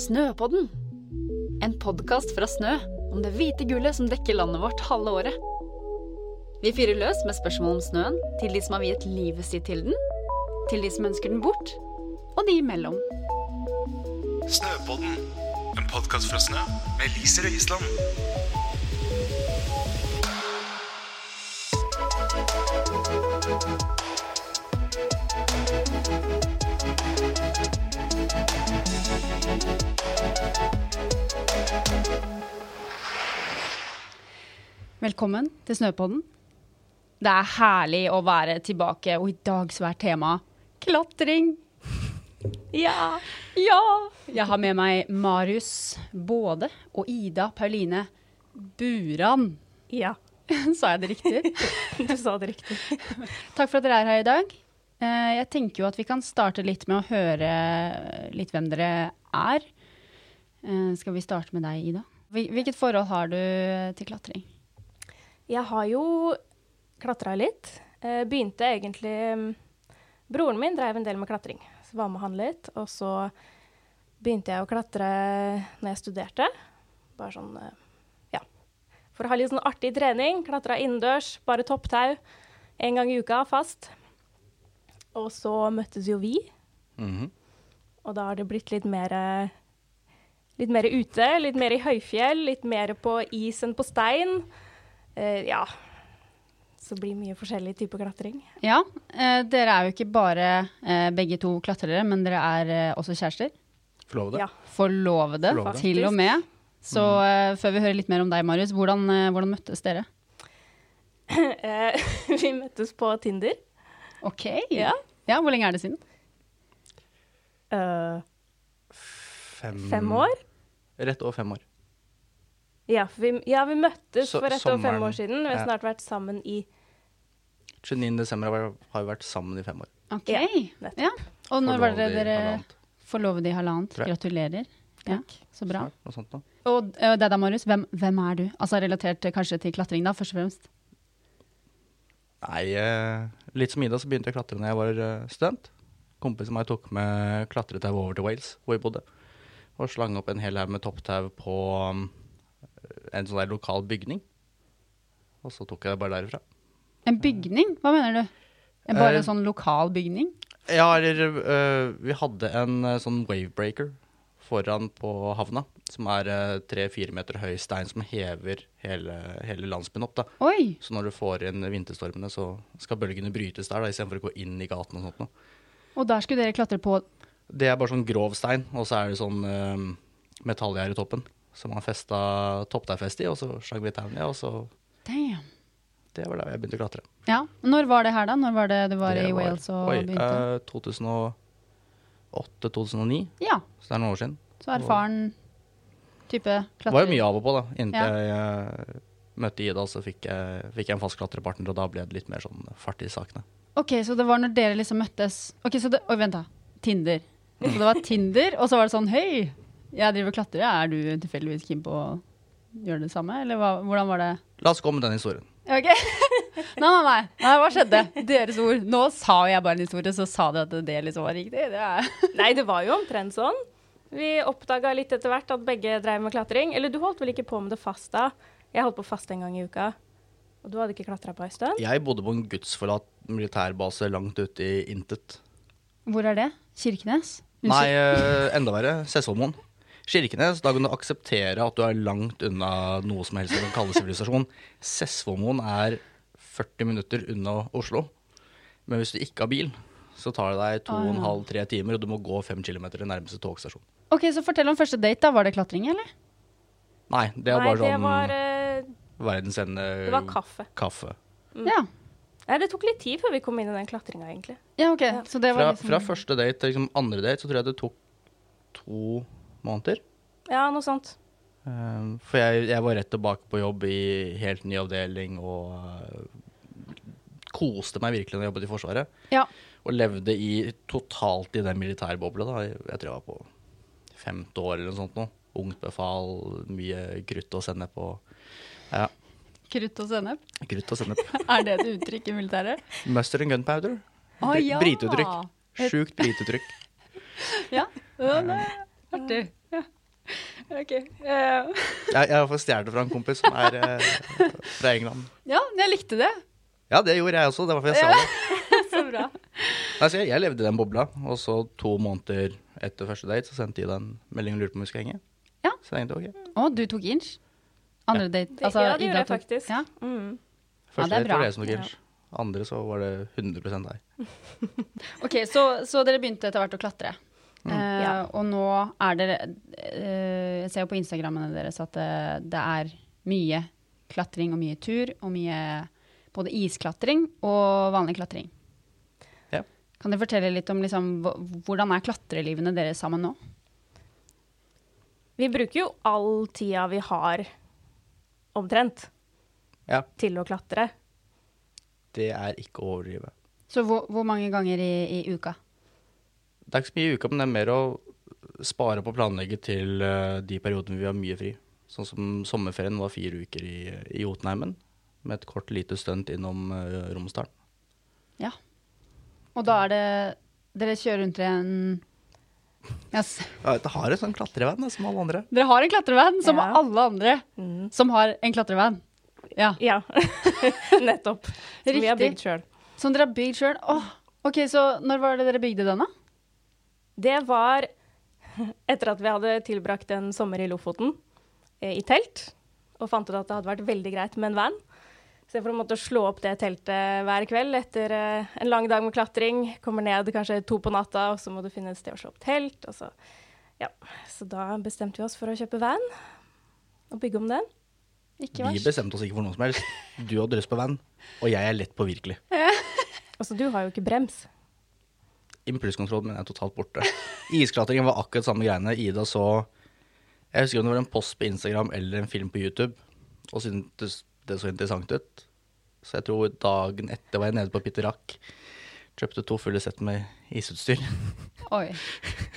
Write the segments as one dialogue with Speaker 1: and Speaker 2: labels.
Speaker 1: Snøpodden. En podkast fra Snø om det hvite gullet som dekker landet vårt halve året. Vi fyrer løs med spørsmål om snøen til de som har viet livet sitt til den, til de som ønsker den bort, og de imellom.
Speaker 2: Snøpodden, en podkast fra Snø med Lise Røisland.
Speaker 3: Velkommen til Snøpodden. Det er herlig å være tilbake, og i dag så er tema klatring.
Speaker 1: Ja!
Speaker 3: Ja! Jeg har med meg Marius Både og Ida Pauline Buran.
Speaker 4: Ja,
Speaker 3: Sa jeg det riktig?
Speaker 4: du sa det riktig.
Speaker 3: Takk for at dere er her i dag. Eh, Jeg tenker jo at vi kan starte litt med å høre litt hvem dere er. Eh, Skal vi starte med deg, Ida? Hvil- Hvilket forhold har du til klatring?
Speaker 4: Jeg har jo klatra litt. Eh, Begynte egentlig mm, Broren min drev en del med klatring, så var med han litt. Og så begynte jeg å klatre når jeg studerte. Bare sånn eh, ja. For å ha litt sånn artig trening. Klatra innendørs, bare topptau. En gang i uka, fast. Og så møttes jo vi, og da har det blitt litt mer eh, Litt mer ute, litt mer i høyfjell, litt mer på is enn på stein. Eh, ja. Så det blir mye forskjellig type klatring.
Speaker 3: Ja, eh, dere er jo ikke bare eh, begge to klatrere, men dere er eh, også kjærester.
Speaker 5: Forlovede?
Speaker 4: Ja.
Speaker 3: Forlovede,
Speaker 5: Forlovede. Mm.
Speaker 3: til og med. Så eh, før vi hører litt mer om deg, Marius, hvordan, eh, hvordan møttes dere?
Speaker 4: Eh, vi møttes på Tinder.
Speaker 3: Ok.
Speaker 4: Ja.
Speaker 3: Ja, Hvor lenge er det siden?
Speaker 4: Eh,
Speaker 5: Fem,
Speaker 4: fem år.
Speaker 5: Rett over fem år.
Speaker 4: Ja, for vi, ja, vi møttes
Speaker 5: Så-
Speaker 4: for ett og fem
Speaker 5: sommeren.
Speaker 4: år siden. Vi har
Speaker 5: Ja.
Speaker 4: snart vært sammen i
Speaker 5: 29. desember har vi- har vi vært sammen i fem år.
Speaker 3: Ok.
Speaker 4: Ja,
Speaker 3: Ja,
Speaker 4: nettopp.
Speaker 3: Og når var det
Speaker 5: Forlovet i
Speaker 3: dere
Speaker 5: halvannet,
Speaker 3: forlovet i halvannet?
Speaker 5: Tror jeg.
Speaker 3: Gratulerer. Ja, så bra.
Speaker 5: snart, Noe sånt da.
Speaker 3: Og eh, deg da, Marius, hvem, hvem er du? Altså relatert eh, kanskje til klatring, da, først og fremst.
Speaker 5: Nei, eh, litt som Ida så begynte jeg å klatre da jeg var eh, student. Kompisen min tok med klatretau over til Wales, hvor vi bodde. Og slang opp en hel haug med topptau på um, en sånn der lokal bygning. Og så tok jeg det bare derifra.
Speaker 3: En bygning? Hva mener du? En bare
Speaker 5: Eh,
Speaker 3: en sånn lokal bygning?
Speaker 5: Ja, eller øh, vi hadde en øh, sånn wavebreaker foran på havna, som er øh, tre-fire meter høy stein som hever hele, hele landsbyen opp. da.
Speaker 3: Oi!
Speaker 5: Så når du får inn vinterstormene, så skal bølgene brytes der, da, istedenfor å gå inn i gaten og sånt noe.
Speaker 3: Og der skulle dere klatre på
Speaker 5: Det er bare sånn grov stein, og så er det sånn øh, metallgjerde i toppen som man festa toppdeigfest i, og så slang vi tauen i, og så
Speaker 3: Damn.
Speaker 5: Det var da jeg begynte å klatre.
Speaker 3: Ja, Når var det her, da? Når var det du var
Speaker 5: Det
Speaker 3: i Wales og
Speaker 5: oi, øh,
Speaker 3: begynte?
Speaker 5: eh, 2008-2009,
Speaker 3: ja,
Speaker 5: så det er noen år siden.
Speaker 3: så erfaren type
Speaker 5: Det
Speaker 3: klatrer.
Speaker 5: var jo mye av og på, da. Inntil
Speaker 3: Ja.
Speaker 5: jeg eh, møtte Ida, så fikk jeg, fikk jeg en fast klatrepartner, og da ble det litt mer sånn fart i sakene.
Speaker 3: Ok, så det var når dere liksom møttes Ok, så det, Oi, vent, da. Tinder. Så det var Tinder, og så var det sånn Hei, jeg driver og klatrer. Er du tilfeldigvis keen på å gjøre det samme, eller hva, hvordan var det?
Speaker 5: La oss gå med den historien.
Speaker 3: Ok. Nei, nei, nei, nei. Hva skjedde? Deres ord. Nå sa jeg bare en historie, så sa dere at det liksom var riktig. Det er
Speaker 4: Nei, det var jo omtrent sånn. Vi oppdaga litt etter hvert at begge drev med klatring. Eller du holdt vel ikke på med det fast da? Jeg holdt på fast en gang i uka. Og du hadde ikke klatra på ei stund?
Speaker 5: Jeg bodde på en gudsforlatt militærbase langt ute i intet.
Speaker 3: Hvor er det? Kirkenes?
Speaker 5: Nei, eh, enda verre. Sessvollmoen. Kirkenes, da kan du akseptere at du er langt unna noe som helst som kan kalles sivilisasjon. Sessvollmoen er 40 minutter unna Oslo. Men hvis du ikke har bil, så tar det deg to og en halv, tre timer, og du må gå fem kilometer til nærmeste togstasjon.
Speaker 3: Ok, Så fortell om første date. da. Var det klatring, eller?
Speaker 5: Nei, det er
Speaker 4: Nei,
Speaker 5: bare sånn eh,
Speaker 4: det var, eh,
Speaker 5: verdensende
Speaker 4: det var kaffe.
Speaker 5: kaffe.
Speaker 3: Ja.
Speaker 4: Nei, det tok litt tid før vi kom inn i den klatringa, egentlig.
Speaker 3: Ja, ok. Så det var
Speaker 5: Fra,
Speaker 3: liksom...
Speaker 5: fra første date til liksom andre date så tror jeg det tok to måneder.
Speaker 4: Ja, noe sånt.
Speaker 5: Eh, for jeg, jeg var rett tilbake på jobb i helt ny avdeling og eh, koste meg virkelig når jeg jobbet i Forsvaret.
Speaker 3: Ja.
Speaker 5: Og levde i, totalt i den militærbobla. da. Jeg tror jeg var på femte år eller noe sånt. nå. Ungt befal, mye krutt og sennep og Ja,
Speaker 3: Krutt og sennep.
Speaker 5: krutt og sennep.
Speaker 3: Er det et uttrykk i militæret?
Speaker 5: Mustard and gunpowder.
Speaker 3: Å,
Speaker 5: Bri-
Speaker 3: ja.
Speaker 5: Brituttrykk. Sjukt brituttrykk.
Speaker 3: Ja. Å, nei. Artig. Ja. Ok. eh,
Speaker 5: Jeg, jeg får stjålet det fra en kompis som er eh, fra England.
Speaker 3: ja, men jeg likte det.
Speaker 5: Ja, det gjorde jeg også. Det var derfor jeg sa det.
Speaker 3: Så bra.
Speaker 5: Nei, så jeg, jeg levde i den bobla, og så to måneder etter første date så sendte de den meldingen og lurte på om vi skulle henge.
Speaker 3: Ja.
Speaker 5: Så jeg tenkte ok.
Speaker 3: Å, du tok inch? Andre date?
Speaker 4: Det- ja, det
Speaker 3: Ida
Speaker 4: gjorde jeg
Speaker 3: tok-
Speaker 4: faktisk.
Speaker 3: Ja.
Speaker 4: Mm.
Speaker 5: Første
Speaker 3: det er
Speaker 5: date var
Speaker 3: bra.
Speaker 5: det som tok inch. Andre så var det 100 deg.
Speaker 3: Ok, så, så dere begynte etter hvert å klatre. Eh,
Speaker 4: Ja.
Speaker 3: Og nå er dere eh, Jeg ser jo på Instagrammene deres at det, det er mye klatring og mye tur, og mye både isklatring og vanlig klatring.
Speaker 5: Ja.
Speaker 3: Kan dere fortelle litt om liksom, hva- hvordan er klatrelivene deres sammen nå?
Speaker 4: Vi bruker jo all tida vi har, omtrent,
Speaker 5: Ja,
Speaker 4: til å klatre.
Speaker 5: det er ikke å overdrive.
Speaker 3: Så hvor, hvor mange ganger i, i uka?
Speaker 5: Det er ikke så mye i uka, men det er mer å spare på å planlegge til eh, de periodene vi har mye fri. Sånn som sommerferien var fire uker i, i Jotunheimen, med et kort lite stunt innom eh, Romsdalen.
Speaker 3: Ja. Og da er det Dere kjører rundt i en yes.
Speaker 5: Ja, det har en sånn klatrevenn da, som alle andre.
Speaker 3: Dere har en klatrevan som
Speaker 4: Ja.
Speaker 3: alle andre som har en klatrevan. Ja.
Speaker 4: Ja, nettopp. Som vi
Speaker 3: Riktig.
Speaker 4: har bygd sjøl.
Speaker 3: Som dere har bygd sjøl. Åh, ok, så når var det dere bygde den, da?
Speaker 4: Det var etter at vi hadde tilbrakt en sommer i Lofoten eh, i telt, og fant ut at det hadde vært veldig greit med en van. Så jeg får måtte slå opp det teltet hver kveld etter eh, en lang dag med klatring. Kommer ned kanskje to på natta, og så må du finne et sted å slå opp telt. Og så, ja. så da bestemte vi oss for å kjøpe van og bygge om den.
Speaker 3: Ikke
Speaker 5: Vi bestemte oss ikke for noe som helst. Du hadde lyst på venn, og jeg er lett påvirkelig.
Speaker 4: Altså, du har jo ikke brems.
Speaker 5: Impulskontrollen min er totalt borte. Isklatringen var akkurat samme greiene. Ida så Jeg husker om det var en post på Instagram eller en film på YouTube, og syntes det så interessant ut. Så jeg tror dagen etter var jeg nede på Pitterak. Kjøpte to fulle sett med isutstyr.
Speaker 3: Oi.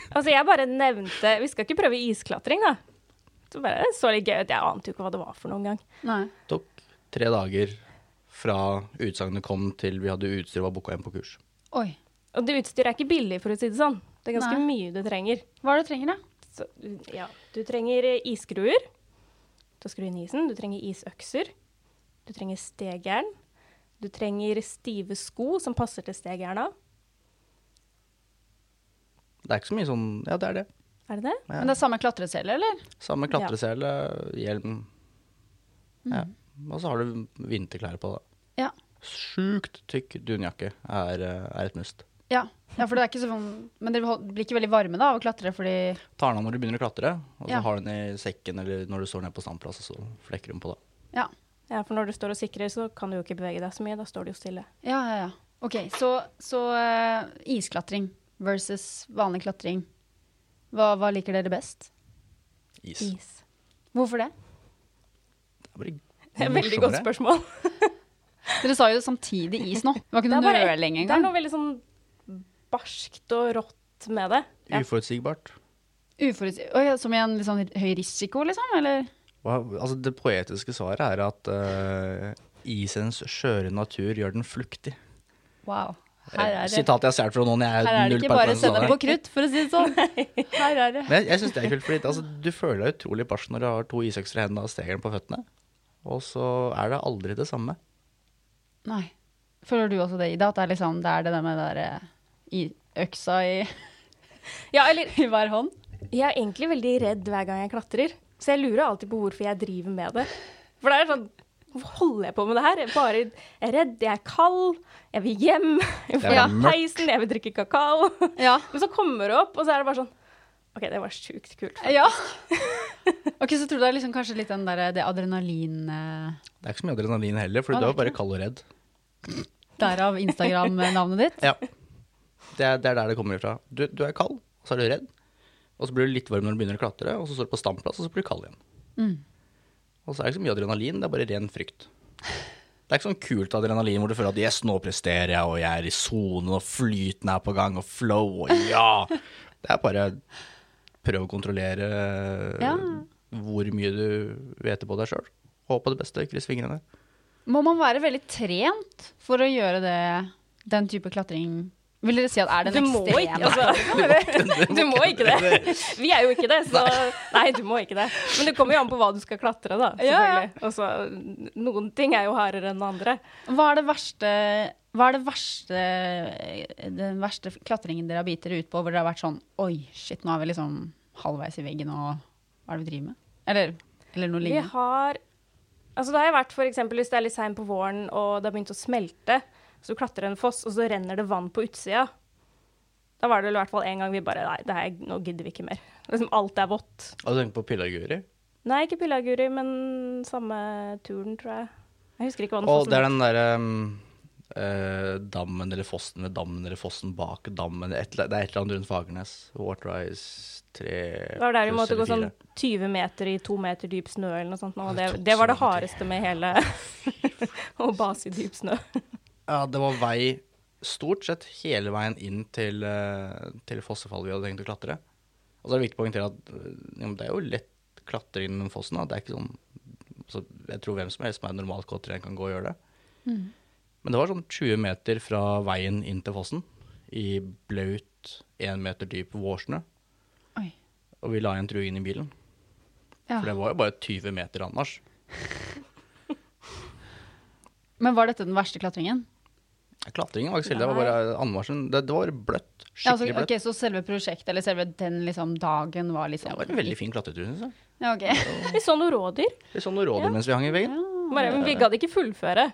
Speaker 4: Altså, jeg bare nevnte Vi skal ikke prøve isklatring, da. Så bare det så litt gøy ut. Jeg ante jo ikke hva det var for noen gang.
Speaker 3: Nei.
Speaker 5: Tok tre dager fra utsagnet kom til vi hadde utstyr og var booka hjem på kurs.
Speaker 3: Oi.
Speaker 4: Og det utstyret er ikke billig, for å si det sånn. Det er ganske
Speaker 3: Nei.
Speaker 4: mye du trenger.
Speaker 3: Hva er det du trenger, da?
Speaker 4: Så, ja, du trenger eh, isskruer til å skru inn isen. Du trenger isøkser. Du trenger stegjern. Du trenger stive sko som passer til stegjerna.
Speaker 5: Det er ikke så mye sånn Ja, det er det.
Speaker 4: Er det det?
Speaker 5: Ja.
Speaker 3: Men det er samme klatresele, eller?
Speaker 5: Samme klatresele, hjelm. Ja. Og så har du vinterklær på deg.
Speaker 3: Ja.
Speaker 5: Sjukt tykk dunjakke er, eh, er et must.
Speaker 3: Ja, ja for det er ikke sånn Men dere hold- blir ikke veldig varme da av å klatre fordi
Speaker 5: Tar den av når du begynner å klatre, og så
Speaker 3: Ja.
Speaker 5: har du den i sekken eller når du står ned på standplass, og så flekker du den på deg.
Speaker 3: Ja.
Speaker 4: Ja, for når du står og sikrer, så kan du jo ikke bevege deg så mye. Da står du jo stille.
Speaker 3: Ja, ja, ja. OK, så, så eh, isklatring versus vanlig klatring. Hva, hva liker dere best?
Speaker 5: Is.
Speaker 4: Is.
Speaker 3: Hvorfor det?
Speaker 5: Det er bare
Speaker 4: Det er et veldig godt
Speaker 5: morsommere.
Speaker 4: spørsmål.
Speaker 3: Dere sa jo samtidig is nå. Det var ikke
Speaker 4: Det er,
Speaker 3: noe
Speaker 4: bare,
Speaker 3: nøling
Speaker 4: det er
Speaker 3: engang.
Speaker 4: noe veldig sånn barskt og rått med det. Ja.
Speaker 5: Uforutsigbart.
Speaker 3: Uforutsigbart. Oi, Som i en litt sånn høy risiko, liksom? Eller?
Speaker 5: Hva- Altså, det poetiske svaret er at eh, isens skjøre natur gjør den fluktig.
Speaker 3: Wow.
Speaker 5: Eh, Sitat jeg har stjålet fra noen. Jeg er
Speaker 3: Her er det
Speaker 5: null
Speaker 3: ikke bare
Speaker 5: peiling på sånne.
Speaker 3: sennep og krutt, for å si det sånn. Her er det.
Speaker 5: Men jeg, jeg syns det er kult, fordi altså, du føler deg utrolig barsk når du har to isøkser i hendene og stegeren på føttene. Og så er det aldri det samme.
Speaker 3: Nei. Føler du også det, Ida? At det er liksom det er det der med det der, eh, i øksa i,
Speaker 4: Ja, eller
Speaker 3: i hver hånd?
Speaker 4: Jeg er egentlig veldig redd hver gang jeg klatrer, så jeg lurer alltid på hvorfor jeg driver med det. For det er sånn Hvorfor holder jeg på med det her? Jeg bare jeg er redd, jeg er kald, jeg vil hjem. Jeg
Speaker 5: er
Speaker 4: vil ha
Speaker 5: mørkt.
Speaker 4: peisen, jeg vil drikke kakao.
Speaker 3: Ja.
Speaker 4: Men så kommer det opp, og så er det bare sånn OK, det var sjukt kult.
Speaker 3: ja. Ok, Så tror du det er liksom kanskje litt den der, det adrenalin eh,
Speaker 5: Det er ikke så mye adrenalin heller, for
Speaker 3: Ja,
Speaker 5: du
Speaker 3: det er
Speaker 5: er bare kald og redd.
Speaker 3: Derav Instagram-navnet ditt?
Speaker 5: Ja. Det er, det er der det kommer ifra. Du, du er kald, og så er du redd. Og så blir du litt varm når du begynner å klatre, og så står du på standplass, og så blir du kald igjen. Og så er det ikke så mye adrenalin, det er bare ren frykt. Det er ikke sånn kult adrenalin hvor du føler at yes, nå presterer jeg, og jeg er i sonen, og flyten er på gang, og flow, og ja. Det er bare prøv å kontrollere
Speaker 3: Ja.
Speaker 5: hvor mye du vet på deg sjøl. Håp på det beste, kryss fingrene.
Speaker 3: Må man være veldig trent for å gjøre det, den type klatring Vil dere si at er det
Speaker 4: Du
Speaker 3: en
Speaker 4: må ikke,
Speaker 3: ekstrem
Speaker 4: altså, du må ikke det. Vi er jo ikke det, så Nei, du må ikke det. Men det kommer jo an på hva du skal klatre, da.
Speaker 3: Ja, ja.
Speaker 4: selvfølgelig. Og så, noen ting er jo hardere enn andre.
Speaker 3: Hva er det verste hva er det verste, den verste klatringen dere har bitt dere ut på, hvor dere har vært sånn Oi, shit, nå er vi liksom halvveis i veggen, og hva er det vi driver med? Eller, eller noe
Speaker 4: Vi
Speaker 3: lignende.
Speaker 4: har Altså, det har jeg vært for eksempel hvis det er litt seint på våren og det har begynt å smelte, så du klatrer en foss, og så renner det vann på utsida. Da var det vel i hvert fall en gang vi bare Nei, det her, nå gidder vi ikke mer. Liksom alt er vått.
Speaker 5: Har du tenkt på Pillaguri?
Speaker 4: Nei, ikke Pillaguri, men samme turen, tror jeg. Jeg husker ikke hva den
Speaker 5: Og
Speaker 4: fossen
Speaker 5: det er den derre mm, eh, dammen eller fossen ved dammen eller fossen bak dammen et, eller- Det er et eller annet rundt Fagernes. Waterrise 3
Speaker 4: Det var der vi
Speaker 5: pluss
Speaker 4: måtte gå
Speaker 5: eller
Speaker 4: sånn
Speaker 5: fire.
Speaker 4: 20 meter i to meter dyp snø eller noe sånt. nå, Og det,
Speaker 5: Ja, det tok
Speaker 4: det var
Speaker 5: så
Speaker 4: det
Speaker 5: lang tid.
Speaker 4: hardeste med hele å base i dyp snø.
Speaker 5: Ja, det var vei stort sett hele veien inn til, eh, til fossefallet vi hadde tenkt å klatre. Og så er det viktig å poengtere at eh, jo, men det er jo lett klatring inn den fossen. Da. Det er ikke sånn så Jeg tror hvem som helst som er normalt klatrer, kan gå og gjøre det.
Speaker 3: Mm.
Speaker 5: Men det var sånn 20 meter fra veien inn til fossen i blaut, én meter dyp vårsnø.
Speaker 3: Oi.
Speaker 5: Og vi la igjen true inn i bilen.
Speaker 3: Ja.
Speaker 5: For det var jo bare 20 meter annars.
Speaker 3: Men var dette den verste klatringen?
Speaker 5: Klatringen var ikke så ille, det var bare anmarsjen. Det, det var bløtt.
Speaker 3: Ja, altså,
Speaker 5: Skikkelig bløtt.
Speaker 3: ok, Så selve prosjektet, eller selve den liksom, dagen, var liksom
Speaker 5: Det var en veldig fin klatretur, syns jeg.
Speaker 3: Ja, ok.
Speaker 4: Vi så noen rådyr.
Speaker 5: Vi så noen rådyr mens vi hang i veggen.
Speaker 4: Bare, men vi gadd ikke fullføre.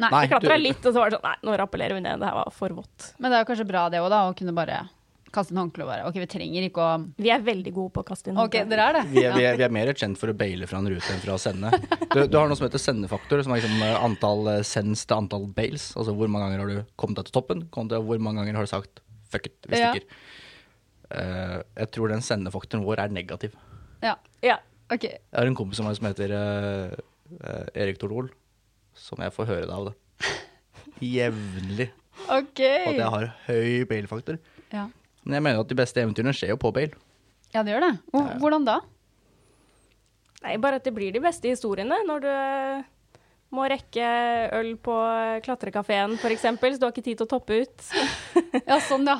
Speaker 5: Nei,
Speaker 4: Vi klatra
Speaker 5: du-
Speaker 4: litt, og så var det sånn Nei, nå rappellerer vi ned. Det her var for vått.
Speaker 3: Men det er jo kanskje bra det òg, da. Å kunne bare kaste en håndkle og bare OK, vi trenger ikke å
Speaker 4: Vi er veldig gode på å kaste inn
Speaker 3: OK, dere er det?
Speaker 5: Mm. Vi er, vi, er, vi er mer kjent for å baile fra en rute enn fra å sende. Du, du har noe som heter sendefaktor, som er liksom eh, antall eh, sends til antall bails. Altså hvor mange ganger har du kommet deg til toppen, kontra hvor mange ganger har du sagt fuck it, vi
Speaker 3: Ja.
Speaker 5: stikker. Eh, jeg tror den sendefaktoren vår er negativ.
Speaker 3: Ja.
Speaker 4: Ja.
Speaker 3: OK.
Speaker 5: Jeg har en kompis av meg som heter eh, eh, Erik Torol, som jeg får høre det av det. Jevnlig.
Speaker 3: ok.
Speaker 5: At jeg har høy bailfaktor.
Speaker 3: Ja.
Speaker 5: Men jeg mener at de beste eventyrene skjer jo på bail.
Speaker 3: ja, det gjør det. Hvor- Hvordan da?
Speaker 4: Nei, bare at det blir de beste historiene når du eh, må rekke øl på klatrekafeen, f.eks., så du har ikke tid til å toppe ut.
Speaker 3: Ja, sånn, ja.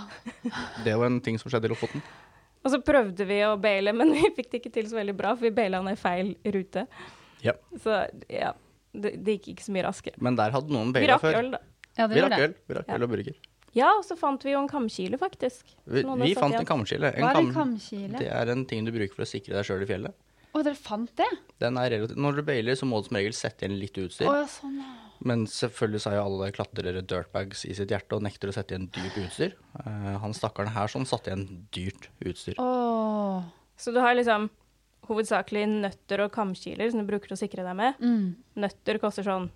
Speaker 5: Det var en ting som skjedde i Lofoten.
Speaker 4: Og så prøvde vi å baile, men vi fikk det ikke til så veldig bra, for vi baila ned feil rute.
Speaker 5: Ja.
Speaker 4: Så ja, det, det gikk ikke så mye raskere.
Speaker 5: Men der hadde noen
Speaker 4: Vi
Speaker 5: baila
Speaker 4: rakk
Speaker 5: før.
Speaker 4: øl, da.
Speaker 3: ja
Speaker 5: Vi
Speaker 3: dere
Speaker 5: rakk
Speaker 3: gjør
Speaker 5: øl,
Speaker 3: det.
Speaker 5: vi rakk øl og burger.
Speaker 4: Ja, og så fant vi jo en kamkile, faktisk.
Speaker 5: Vi,
Speaker 4: Noen
Speaker 5: vi
Speaker 4: hadde satt
Speaker 5: fant en
Speaker 4: igjen.
Speaker 5: kamskile. En
Speaker 3: Hva er en
Speaker 5: kam-
Speaker 3: kamkile?
Speaker 5: Det er en ting du bruker for å sikre deg sjøl i fjellet.
Speaker 3: Å, dere fant det?
Speaker 5: Den er relativt, når du bailer, så må du som regel sette igjen litt utstyr.
Speaker 3: Å ja, sånn, ja.
Speaker 5: Men selvfølgelig så er jo alle klatrere dirtbags i sitt hjerte og nekter å sette igjen dyrt utstyr. Eh, han stakkaren her som satte igjen dyrt utstyr.
Speaker 3: Å.
Speaker 4: Så du har liksom hovedsakelig nøtter og kamkiler som du bruker til å sikre deg med.
Speaker 3: Mm.
Speaker 4: Nøtter koster sånn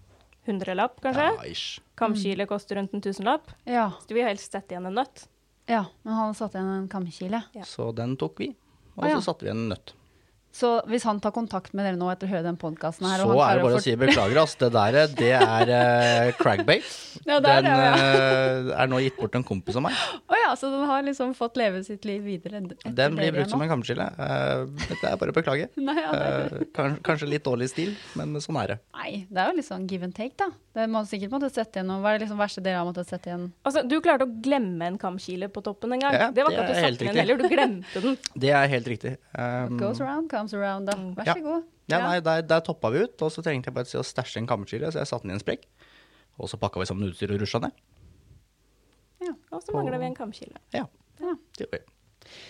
Speaker 4: hundrelapp, kanskje.
Speaker 5: Ja, ish.
Speaker 4: Kamkile koster rundt en tusenlapp.
Speaker 3: Ja.
Speaker 4: Så du vil helst sette igjen en nøtt.
Speaker 3: ja. Men han satte igjen en kamkile.
Speaker 4: Ja.
Speaker 5: Så den tok vi. Og
Speaker 3: Å, ja.
Speaker 5: så satte vi igjen en nøtt.
Speaker 3: Så hvis han tar kontakt med dere nå etter å høre den podkasten her
Speaker 5: Så
Speaker 3: og han
Speaker 5: er
Speaker 3: klarer
Speaker 5: det bare å
Speaker 3: fort-
Speaker 5: si beklager, ass. Det der, eh, det er eh, cragbait.
Speaker 3: Ja, det er
Speaker 5: den
Speaker 3: det, ja.
Speaker 5: eh, er nå gitt bort til en kompis av meg.
Speaker 3: Å ja, så den har liksom fått leve sitt liv videre etter
Speaker 5: Den blir
Speaker 3: dere
Speaker 5: brukt som en kamskille. Eh, det er bare å beklage.
Speaker 3: nå? Nei, ja, det er det.
Speaker 5: Eh, kanskje, kanskje litt dårlig stil, men sånn er det.
Speaker 3: Nei, det er jo litt sånn give and take, da. Det må sikkert måtte sette igjen noe. Hva er det liksom verste dere har måttet sette igjen?
Speaker 4: Altså, du klarte å glemme en kamkile på toppen en gang.
Speaker 5: Ja,
Speaker 4: det var ikke
Speaker 5: det
Speaker 4: at
Speaker 5: er
Speaker 4: du
Speaker 5: helt
Speaker 4: satte den
Speaker 5: riktig.
Speaker 4: igjen heller, du glemte den.
Speaker 5: Det er helt riktig. Um,
Speaker 3: Goes around, comes around, da. Vær
Speaker 5: Mm. ja.
Speaker 3: så god.
Speaker 5: ja, nei, der, der toppa vi ut, og så trengte jeg bare et sted å stæsje en kammerskille, så jeg satte den i en sprekk. Og så pakka vi sammen utstyr og rusla ned.
Speaker 4: Og så mangler vi en kamkile.
Speaker 5: Ja,
Speaker 3: Ja.
Speaker 5: det gjorde vi.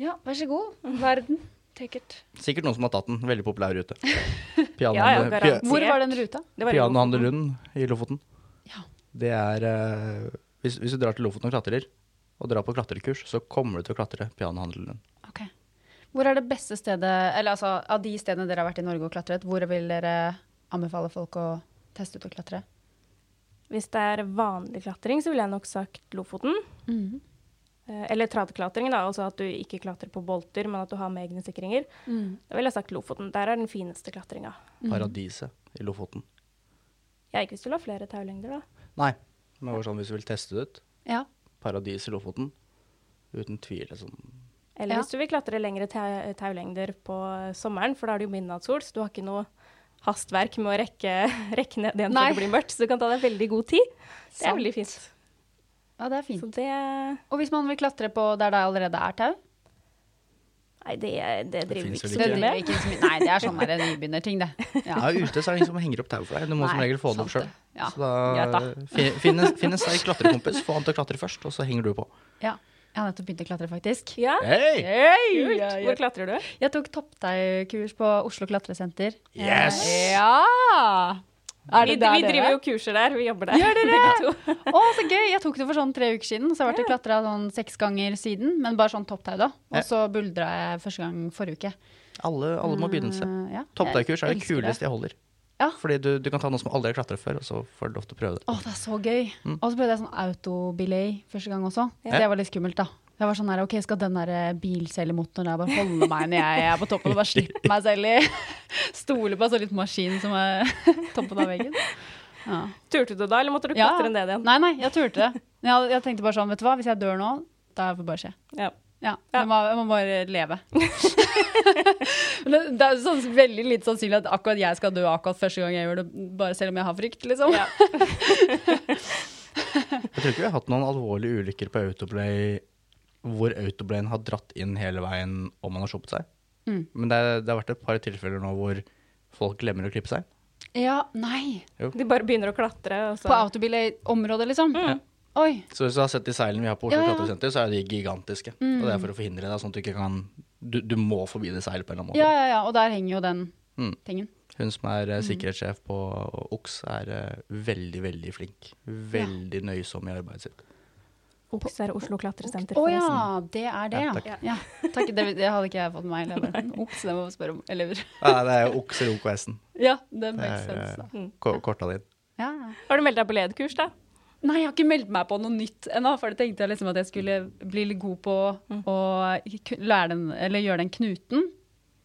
Speaker 3: Ja, vær så god. Mm. Verden. Take it.
Speaker 5: Sikkert noen som har tatt den. Veldig populær ute.
Speaker 4: Ja, ja,
Speaker 5: Pianohandel-
Speaker 4: garant.
Speaker 5: pia-
Speaker 3: Hvor var den ruta?
Speaker 4: Det var i Lofoten.
Speaker 5: Pianohandel Rund i Lofoten.
Speaker 3: Ja.
Speaker 5: Det er eh, hvis, hvis du drar til Lofoten og klatrer, og drar på klatrekurs, så kommer du til å klatre Pianohandel Rund.
Speaker 3: Ok. Hvor er det beste stedet, eller altså av de stedene dere har vært i Norge og klatret, hvor vil dere anbefale folk å teste ut å klatre?
Speaker 4: Hvis det er vanlig klatring, så ville jeg nok sagt Lofoten.
Speaker 3: Mhm.
Speaker 4: Eh, Eller tradklatring, da, altså at du ikke klatrer på bolter, men at du har med egne sikringer.
Speaker 3: Mhm.
Speaker 4: Da ville jeg sagt Lofoten. Der er den fineste klatringa.
Speaker 5: Paradiset i Lofoten.
Speaker 4: Ja, ikke hvis du vil ha flere taulengder, da.
Speaker 5: Nei, men det var sånn hvis du vil teste det ut.
Speaker 3: Ja.
Speaker 5: Paradis i Lofoten. Uten tvil. Liksom.
Speaker 4: Eller
Speaker 3: Ja.
Speaker 4: hvis du vil klatre lengre ta taulengder på sommeren, for da er det jo midnattssol, så du har ikke noe hastverk med å rekke, rekke ned igjen
Speaker 3: Nei.
Speaker 4: før det blir mørkt, så du kan ta deg veldig god tid. Det er
Speaker 3: Sant.
Speaker 4: veldig fint.
Speaker 3: Ja, det er
Speaker 4: Så
Speaker 3: fint.
Speaker 4: det
Speaker 3: Og hvis man vil klatre på der det allerede er tau?
Speaker 4: Nei, det, det driver vi
Speaker 5: finnes
Speaker 4: ikke
Speaker 5: vel
Speaker 4: så
Speaker 5: ikke.
Speaker 4: mye
Speaker 3: driver
Speaker 4: med.
Speaker 3: ikke så mye- Nei, det er sånn der nybegynnerting, det. Ja.
Speaker 5: Ja, ute så er det ingen som henger opp tau for deg. Du må som
Speaker 3: Nei,
Speaker 5: regel få det opp
Speaker 3: sant
Speaker 5: sjøl.
Speaker 3: det. Ja,
Speaker 5: Så da,
Speaker 3: greit da.
Speaker 5: fin- Finn en- finn en sterk klatrekompis, få han til å klatre først, og så henger du på.
Speaker 3: Ja. Jeg har nettopp begynt å klatre, faktisk.
Speaker 4: Ja,
Speaker 5: Hei!
Speaker 3: Hey,
Speaker 4: kult. Hvor klatrer du?
Speaker 3: Jeg tok topptaukurs på Oslo klatresenter.
Speaker 5: Yes!
Speaker 3: Ja! Er
Speaker 4: Vi,
Speaker 3: det der
Speaker 4: vi driver jo kurser der, vi jobber der.
Speaker 3: Gjør dere? Å, så gøy! Jeg tok det for sånn tre uker siden, så jeg har vært og klatra sånn seks ganger siden. Men bare sånn topptau, da.
Speaker 5: Ja.
Speaker 3: Og så buldra jeg første gang forrige uke.
Speaker 5: Alle, alle må begynne seg.
Speaker 3: Eh, ja.
Speaker 5: Topptaukurs er
Speaker 3: Jeg
Speaker 5: det
Speaker 3: elsker
Speaker 5: kuleste jeg holder.
Speaker 3: Ja.
Speaker 5: Fordi du, du kan ta noe som aldri har klatret før, og så får du lov til å prøve det.
Speaker 3: Å, det er så gøy.
Speaker 4: Mm.
Speaker 3: Og så prøvde jeg sånn autobilay første gang også.
Speaker 5: Ja.
Speaker 3: Det var litt skummelt, da. Jeg var sånn her, ok, Skal den der bilcellemotoren der bare holde meg når jeg er på toppen og bare slippe meg selv i? Stole på en sånn liten maskin som er toppen av veggen. Ja.
Speaker 4: Turte du da, eller måtte du
Speaker 3: Ja.
Speaker 4: klatre ned igjen?
Speaker 3: Nei, nei, jeg turte det. Men Jeg, jeg tenkte bare sånn, vet du hva, hvis jeg dør nå, da får det bare skje.
Speaker 4: Ja.
Speaker 3: Ja,
Speaker 4: Ja.
Speaker 3: Jeg, må, jeg må bare leve. Men det, det er jo sånn, veldig lite sannsynlig at akkurat jeg skal dø akkurat første gang jeg gjør det, bare selv om jeg har frykt, liksom.
Speaker 4: Ja.
Speaker 5: Jeg tror ikke vi har hatt noen alvorlige ulykker på autoplay hvor autoplayen har dratt inn hele veien om man har sluppet seg.
Speaker 3: Mm.
Speaker 5: Men det, er- det har vært et par tilfeller nå hvor folk glemmer å klippe seg.
Speaker 3: Ja, nei.
Speaker 4: De bare begynner å klatre, og så
Speaker 3: På autobilområdet, liksom? Oi.
Speaker 5: Så hvis du har sett de seilene vi har på Oslo
Speaker 3: Ja, Mm. ja.
Speaker 5: Klatresenter, så er de gigantiske. Og det er for å forhindre det, sånn at du ikke kan Du, du må forbi det seilet på en eller annen måte.
Speaker 3: Ja, ja, ja. Og der henger jo den
Speaker 5: Mm.
Speaker 3: tingen.
Speaker 5: Hun som er eh, sikkerhetssjef på OKS, er eh, veldig, veldig flink. Veldig nøysom i arbeidet sitt.
Speaker 4: Oks er Oslo klatresenter.
Speaker 3: Å ja, det er det,
Speaker 5: Ja,
Speaker 3: ja.
Speaker 5: takk.
Speaker 3: ja. Takk, det, det hadde ikke jeg fått med meg. eller bare, Ops, det må vi spørre om elever.
Speaker 5: Nei, det er jo OKS eller OKS-en.
Speaker 3: Ja, det
Speaker 5: Det
Speaker 3: makes
Speaker 5: er
Speaker 3: sense, da.
Speaker 5: eh, ko- korta din.
Speaker 3: Ja. ja.
Speaker 4: Har du meldt deg på LED-kurs, da?
Speaker 3: Nei, jeg har ikke meldt meg på noe nytt ennå, for det tenkte jeg liksom at jeg skulle bli litt god på å ku- lære den, eller gjøre den knuten.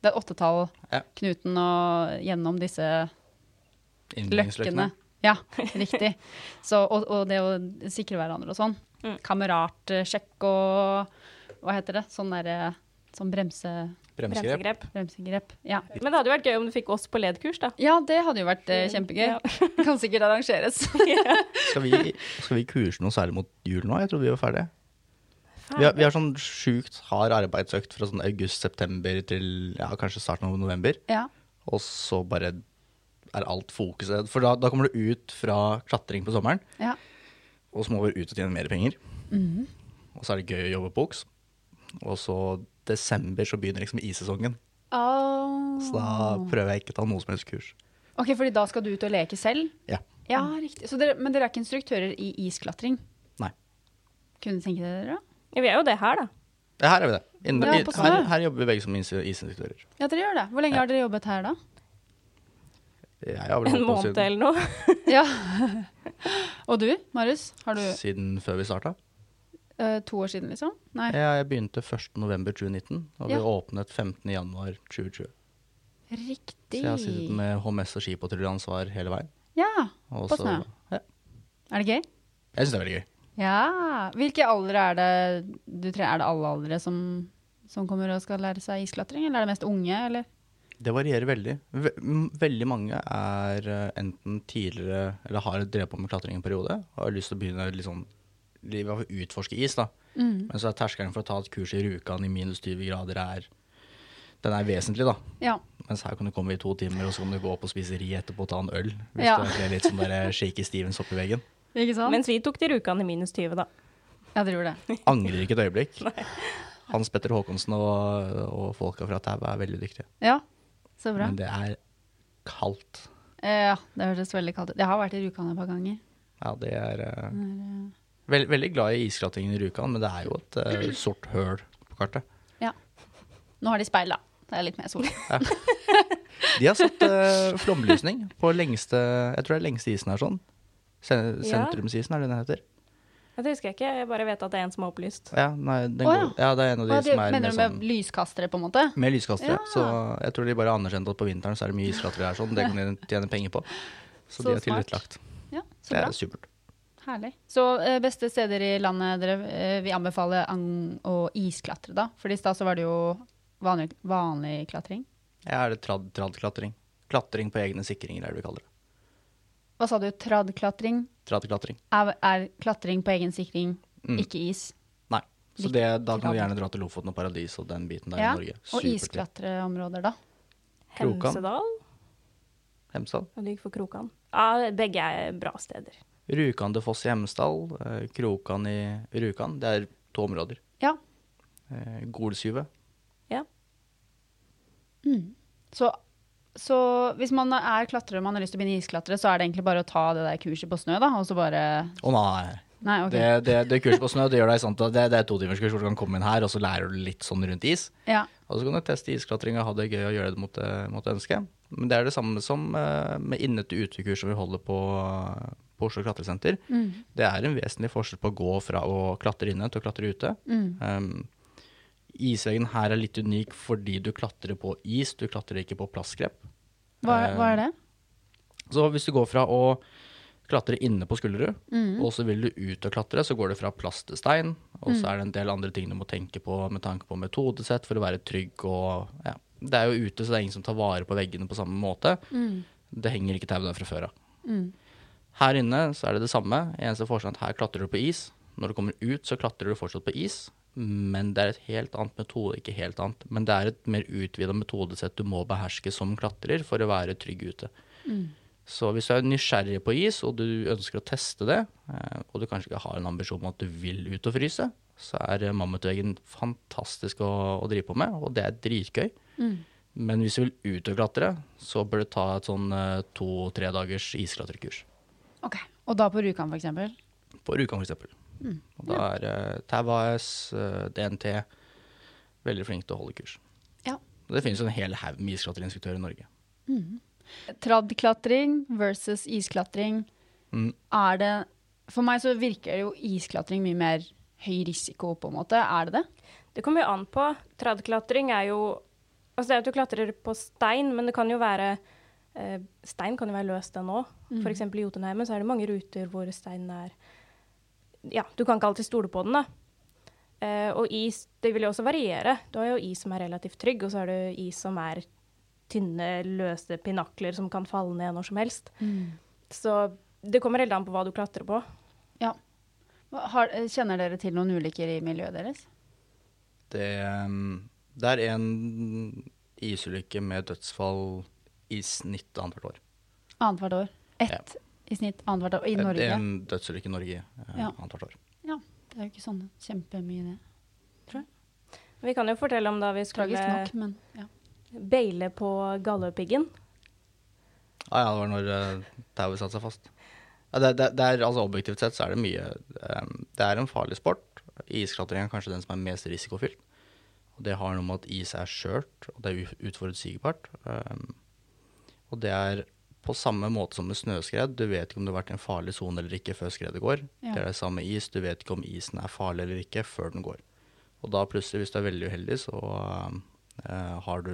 Speaker 3: Det er åttetall,
Speaker 5: Ja.
Speaker 3: knuten og gjennom disse løkkene.
Speaker 5: Innledningsløkkene.
Speaker 3: Ja, riktig. Så, og, og det å sikre hverandre og sånn. Kameratsjekk og hva heter det? Sånn derre sånn bremse,
Speaker 5: Bremsegrep.
Speaker 4: Bremsegrep.
Speaker 3: bremsegrep. Ja.
Speaker 4: Men det hadde jo vært gøy om du fikk oss på LED-kurs, da.
Speaker 3: ja, det hadde jo vært eh, kjempegøy.
Speaker 4: Ja.
Speaker 3: Kan sikkert arrangeres.
Speaker 5: Skal vi, skal vi kurse noe særlig mot jul nå? Jeg trodde vi var ferdige. Vi har, vi har sånn sjukt hard arbeidsøkt fra sånn august-september til ja, kanskje starten av november.
Speaker 3: ja.
Speaker 5: Og så bare er alt fokuset. For da, da kommer du ut fra klatring på sommeren,
Speaker 3: ja.
Speaker 5: og så må du ut og tjene mer penger.
Speaker 3: Mhm.
Speaker 5: Og så er det gøy å jobbe på Oks. Og så desember så begynner liksom issesongen. Så da prøver jeg ikke å ta noe som helst kurs.
Speaker 3: OK, fordi da skal du ut og leke selv? Mm.
Speaker 5: Ja.
Speaker 3: Ja, riktig. Så dere, men dere er ikke instruktører i isklatring?
Speaker 5: Nei.
Speaker 3: Kunne tenke dere det?
Speaker 4: Ja, vi er jo det her, da.
Speaker 5: Ja, her er vi det. Inne,
Speaker 3: Ja, på
Speaker 5: i, her,
Speaker 3: sommeren.
Speaker 5: her jobber vi begge som is- isinstruktører.
Speaker 3: Ja, dere gjør det. Hvor lenge har dere jobbet her, da?
Speaker 5: Jeg har vel
Speaker 4: En
Speaker 5: holdt på
Speaker 4: måned
Speaker 5: siden,
Speaker 4: eller noe.
Speaker 3: Ja. Og du, Marius? Har du
Speaker 5: siden før vi starta.
Speaker 3: eh, to år siden, liksom? Nei.
Speaker 5: Ja, jeg begynte 1.11.2019, og vi
Speaker 3: Ja.
Speaker 5: åpnet 15.1.2020. Så
Speaker 3: Riktig.
Speaker 5: jeg har sittet med HMS og skipatruljeansvar hele veien.
Speaker 3: Ja.
Speaker 5: Og
Speaker 3: På
Speaker 5: så-
Speaker 3: snø.
Speaker 5: Ja.
Speaker 3: Er det gøy?
Speaker 5: Jeg syns det er veldig gøy.
Speaker 3: Ja. Hvilke aldre er det du tror Er det alle aldre som, som kommer og skal lære seg isklatring, eller er det mest unge, eller?
Speaker 5: Det varierer veldig. Ve- m- Veldig mange er eh, enten tidligere eller har drevet på med klatring en periode og har lyst til å begynne litt sånn livet av å utforske is, da.
Speaker 3: Mm.
Speaker 5: Men så er terskelen for å ta et kurs i Rjukan i minus 20 grader er den er vesentlig, da.
Speaker 3: Ja.
Speaker 5: Mens her kan du komme i to timer, og så kan du gå opp og spise ri etterpå og ta en øl. Hvis
Speaker 3: Ja.
Speaker 5: du er litt sånn der shaky Stevens oppi veggen.
Speaker 3: Ikke sant?
Speaker 4: Mens vi tok de rukene i minus 20, da.
Speaker 3: ja, dere gjorde det.
Speaker 5: Angrer ikke et øyeblikk. Hans Petter Håkonsen og, og folka fra Tau er veldig dyktige.
Speaker 3: Ja. Så bra.
Speaker 5: Men det er kaldt.
Speaker 3: Eh, Ja, det hørtes veldig kaldt ut. Jeg har vært i Rjukan et par ganger.
Speaker 5: Ja, det er eh, vel- Veldig glad i iskratingen i Rjukan, men det er jo et eh, sort høl på kartet.
Speaker 3: Ja. Nå har de speil, da. Det er litt mer sol.
Speaker 5: De har satt eh, flomlysning på lengste Jeg tror det er lengste isen her sånn. Sen
Speaker 4: Ja.
Speaker 5: sentrumsisen er det den heter.
Speaker 4: Ja, Det husker jeg ikke, jeg bare vet at det er en som er opplyst.
Speaker 5: Ja, nei, den
Speaker 3: Å,
Speaker 5: går, ja. det er en av de
Speaker 3: Hva, de,
Speaker 5: som er
Speaker 3: mener
Speaker 5: med
Speaker 3: du med
Speaker 5: sånn
Speaker 3: lyskastere, på en måte?
Speaker 5: Med lyskastere.
Speaker 3: Ja.
Speaker 5: Så jeg tror de bare har anerkjent at på vinteren så er det mye isklatrere her, sånn. Det kan de tjene penger på. Så,
Speaker 3: Så
Speaker 5: de har
Speaker 3: smart.
Speaker 5: tilrettelagt.
Speaker 3: Ja, så
Speaker 5: Det
Speaker 3: bra.
Speaker 5: er supert.
Speaker 3: Herlig. Så eh, beste steder i landet dere eh, vil anbefale ang- å isklatre, da? For i stad så var det jo vanlig, vanlig klatring.
Speaker 5: Jeg er det trad- trad-klatring. Klatring på egne sikringer er det vi kaller det.
Speaker 3: Hva sa du? Tradklatring?
Speaker 5: Tradeklatring.
Speaker 3: Er, er klatring på egen sikring,
Speaker 5: Mm.
Speaker 3: ikke is?
Speaker 5: Nei. Så
Speaker 3: Litt
Speaker 5: det, da kan du
Speaker 3: trad.
Speaker 5: gjerne dra til Lofoten og Paradis og den biten der
Speaker 3: Ja,
Speaker 5: i Norge.
Speaker 3: Og
Speaker 5: Supertid.
Speaker 3: isklatreområder, da?
Speaker 5: Krokan.
Speaker 4: Hemsedal.
Speaker 5: Hemsedal.
Speaker 4: Jeg ligger for Krokan. Ja, begge er bra steder.
Speaker 5: Rjukandefoss i Hemsedal. eh, Krokan i Rjukan. Det er to områder.
Speaker 3: Ja.
Speaker 5: Eh, Golsyvet.
Speaker 4: Ja.
Speaker 3: Så, så hvis man er klatrer og man har lyst til å begynne isklatre, så er det egentlig bare å ta det der kurset på snø, da, og så bare
Speaker 5: Å nei.
Speaker 3: Nei, OK.
Speaker 5: Det, det, det kurset på snø det gjør deg sånn at det, det er totimerskurs hvor du kan komme inn her, og så lærer du litt sånn rundt is.
Speaker 3: Ja.
Speaker 5: Og så kan du teste isklatring og ha det gøy og gjøre det mot, eh, mot ønsket. Men det er det samme som eh, med inne til utekurs som vi holder på, eh, på Oslo klatresenter. Det er en vesentlig forskjell på å gå fra å klatre inne til å klatre ute. Um, isveggen her er litt unik fordi du klatrer på is, du klatrer ikke på plastgrep.
Speaker 3: Hva,
Speaker 5: Eh.
Speaker 3: hva er det?
Speaker 5: Så hvis du går fra å klatre inne på Skullerud, og så vil du ut og klatre, så går det fra plast til stein, og så er det en del andre ting du må tenke på med tanke på metodesett for å være trygg og ja. Det er jo ute, så det er ingen som tar vare på veggene på samme måte. Det henger ikke tau der fra før av. Her inne så er det det samme. Eneste forskjellen er at her klatrer du på is. Når du kommer ut, så klatrer du fortsatt på is, men det er et helt annet metode, ikke helt annet, men det er et mer utvida metodesett du må beherske som klatrer for å være trygg ute. Så hvis du er nysgjerrig på is, og du ønsker å teste det, eh, og du kanskje ikke har en ambisjon om at du vil ut og fryse, så er eh, mammutveggen fantastisk å, å drive på med, og det er dritgøy. Men hvis du vil ut og klatre, så bør du ta et sånn eh, to-tre dagers isklatrekurs.
Speaker 3: Ok. Og da på Rjukan, for eksempel?
Speaker 5: På Rjukan, for eksempel. Og da er eh, Tau AS, eh, DNT, veldig flinke til å holde kurs.
Speaker 3: Ja.
Speaker 5: Og Det finnes jo en hel haug med isklatreinstruktører i Norge.
Speaker 3: Tradklatring versus isklatring.
Speaker 5: Mm.
Speaker 3: Er det For meg så virker jo isklatring mye mer høy risiko, på en måte. Er det det?
Speaker 4: Det kommer jo an på. Tradklatring er jo Altså det er at du klatrer på stein, men det kan jo være eh, Stein kan jo være løst ennå.
Speaker 3: Mm.
Speaker 4: For F.eks. i Jotunheimen så er det mange ruter hvor steinen er Ja, du kan ikke alltid stole på den, da. Eh, og is, det vil jo også variere. Du har jo is som er relativt trygg, og så har du is som er tynne, løse pinakler som kan falle ned når som helst. Så det kommer helt an på hva du klatrer på.
Speaker 3: Ja. Hva- Har, kjenner dere til noen ulykker i miljøet deres?
Speaker 5: Det, um, det er en isulykke med dødsfall i snitt annethvert år. Eh,
Speaker 3: Annethvert år. Ett i snitt annethvert år. I
Speaker 5: Det
Speaker 3: Norge.
Speaker 5: er en dødsulykke i Norge eh,
Speaker 3: Ja.
Speaker 5: annethvert år.
Speaker 3: Ja. Det er jo ikke sånn kjempemye, det.
Speaker 4: Vi kan jo fortelle om da vi skulle
Speaker 3: Tragisk nok, men ja.
Speaker 4: beile på Galdhøpiggen.
Speaker 5: Ah, ja, det var når eh, tauet satte seg fast. Ja, det, det, det er, altså, objektivt sett så er det mye um, Det er en farlig sport. Isklatring er kanskje den som er mest risikofylt. Og det har noe med at is er skjørt, og det er u- utforutsigbart. Um, og det er på samme måte som med snøskred. Du vet ikke om du har vært i en farlig sone eller ikke før skredet går.
Speaker 3: Ja.
Speaker 5: Det er det samme is. Du vet ikke om isen er farlig eller ikke før den går. Og da plutselig, hvis du er veldig uheldig, så um, eh, har du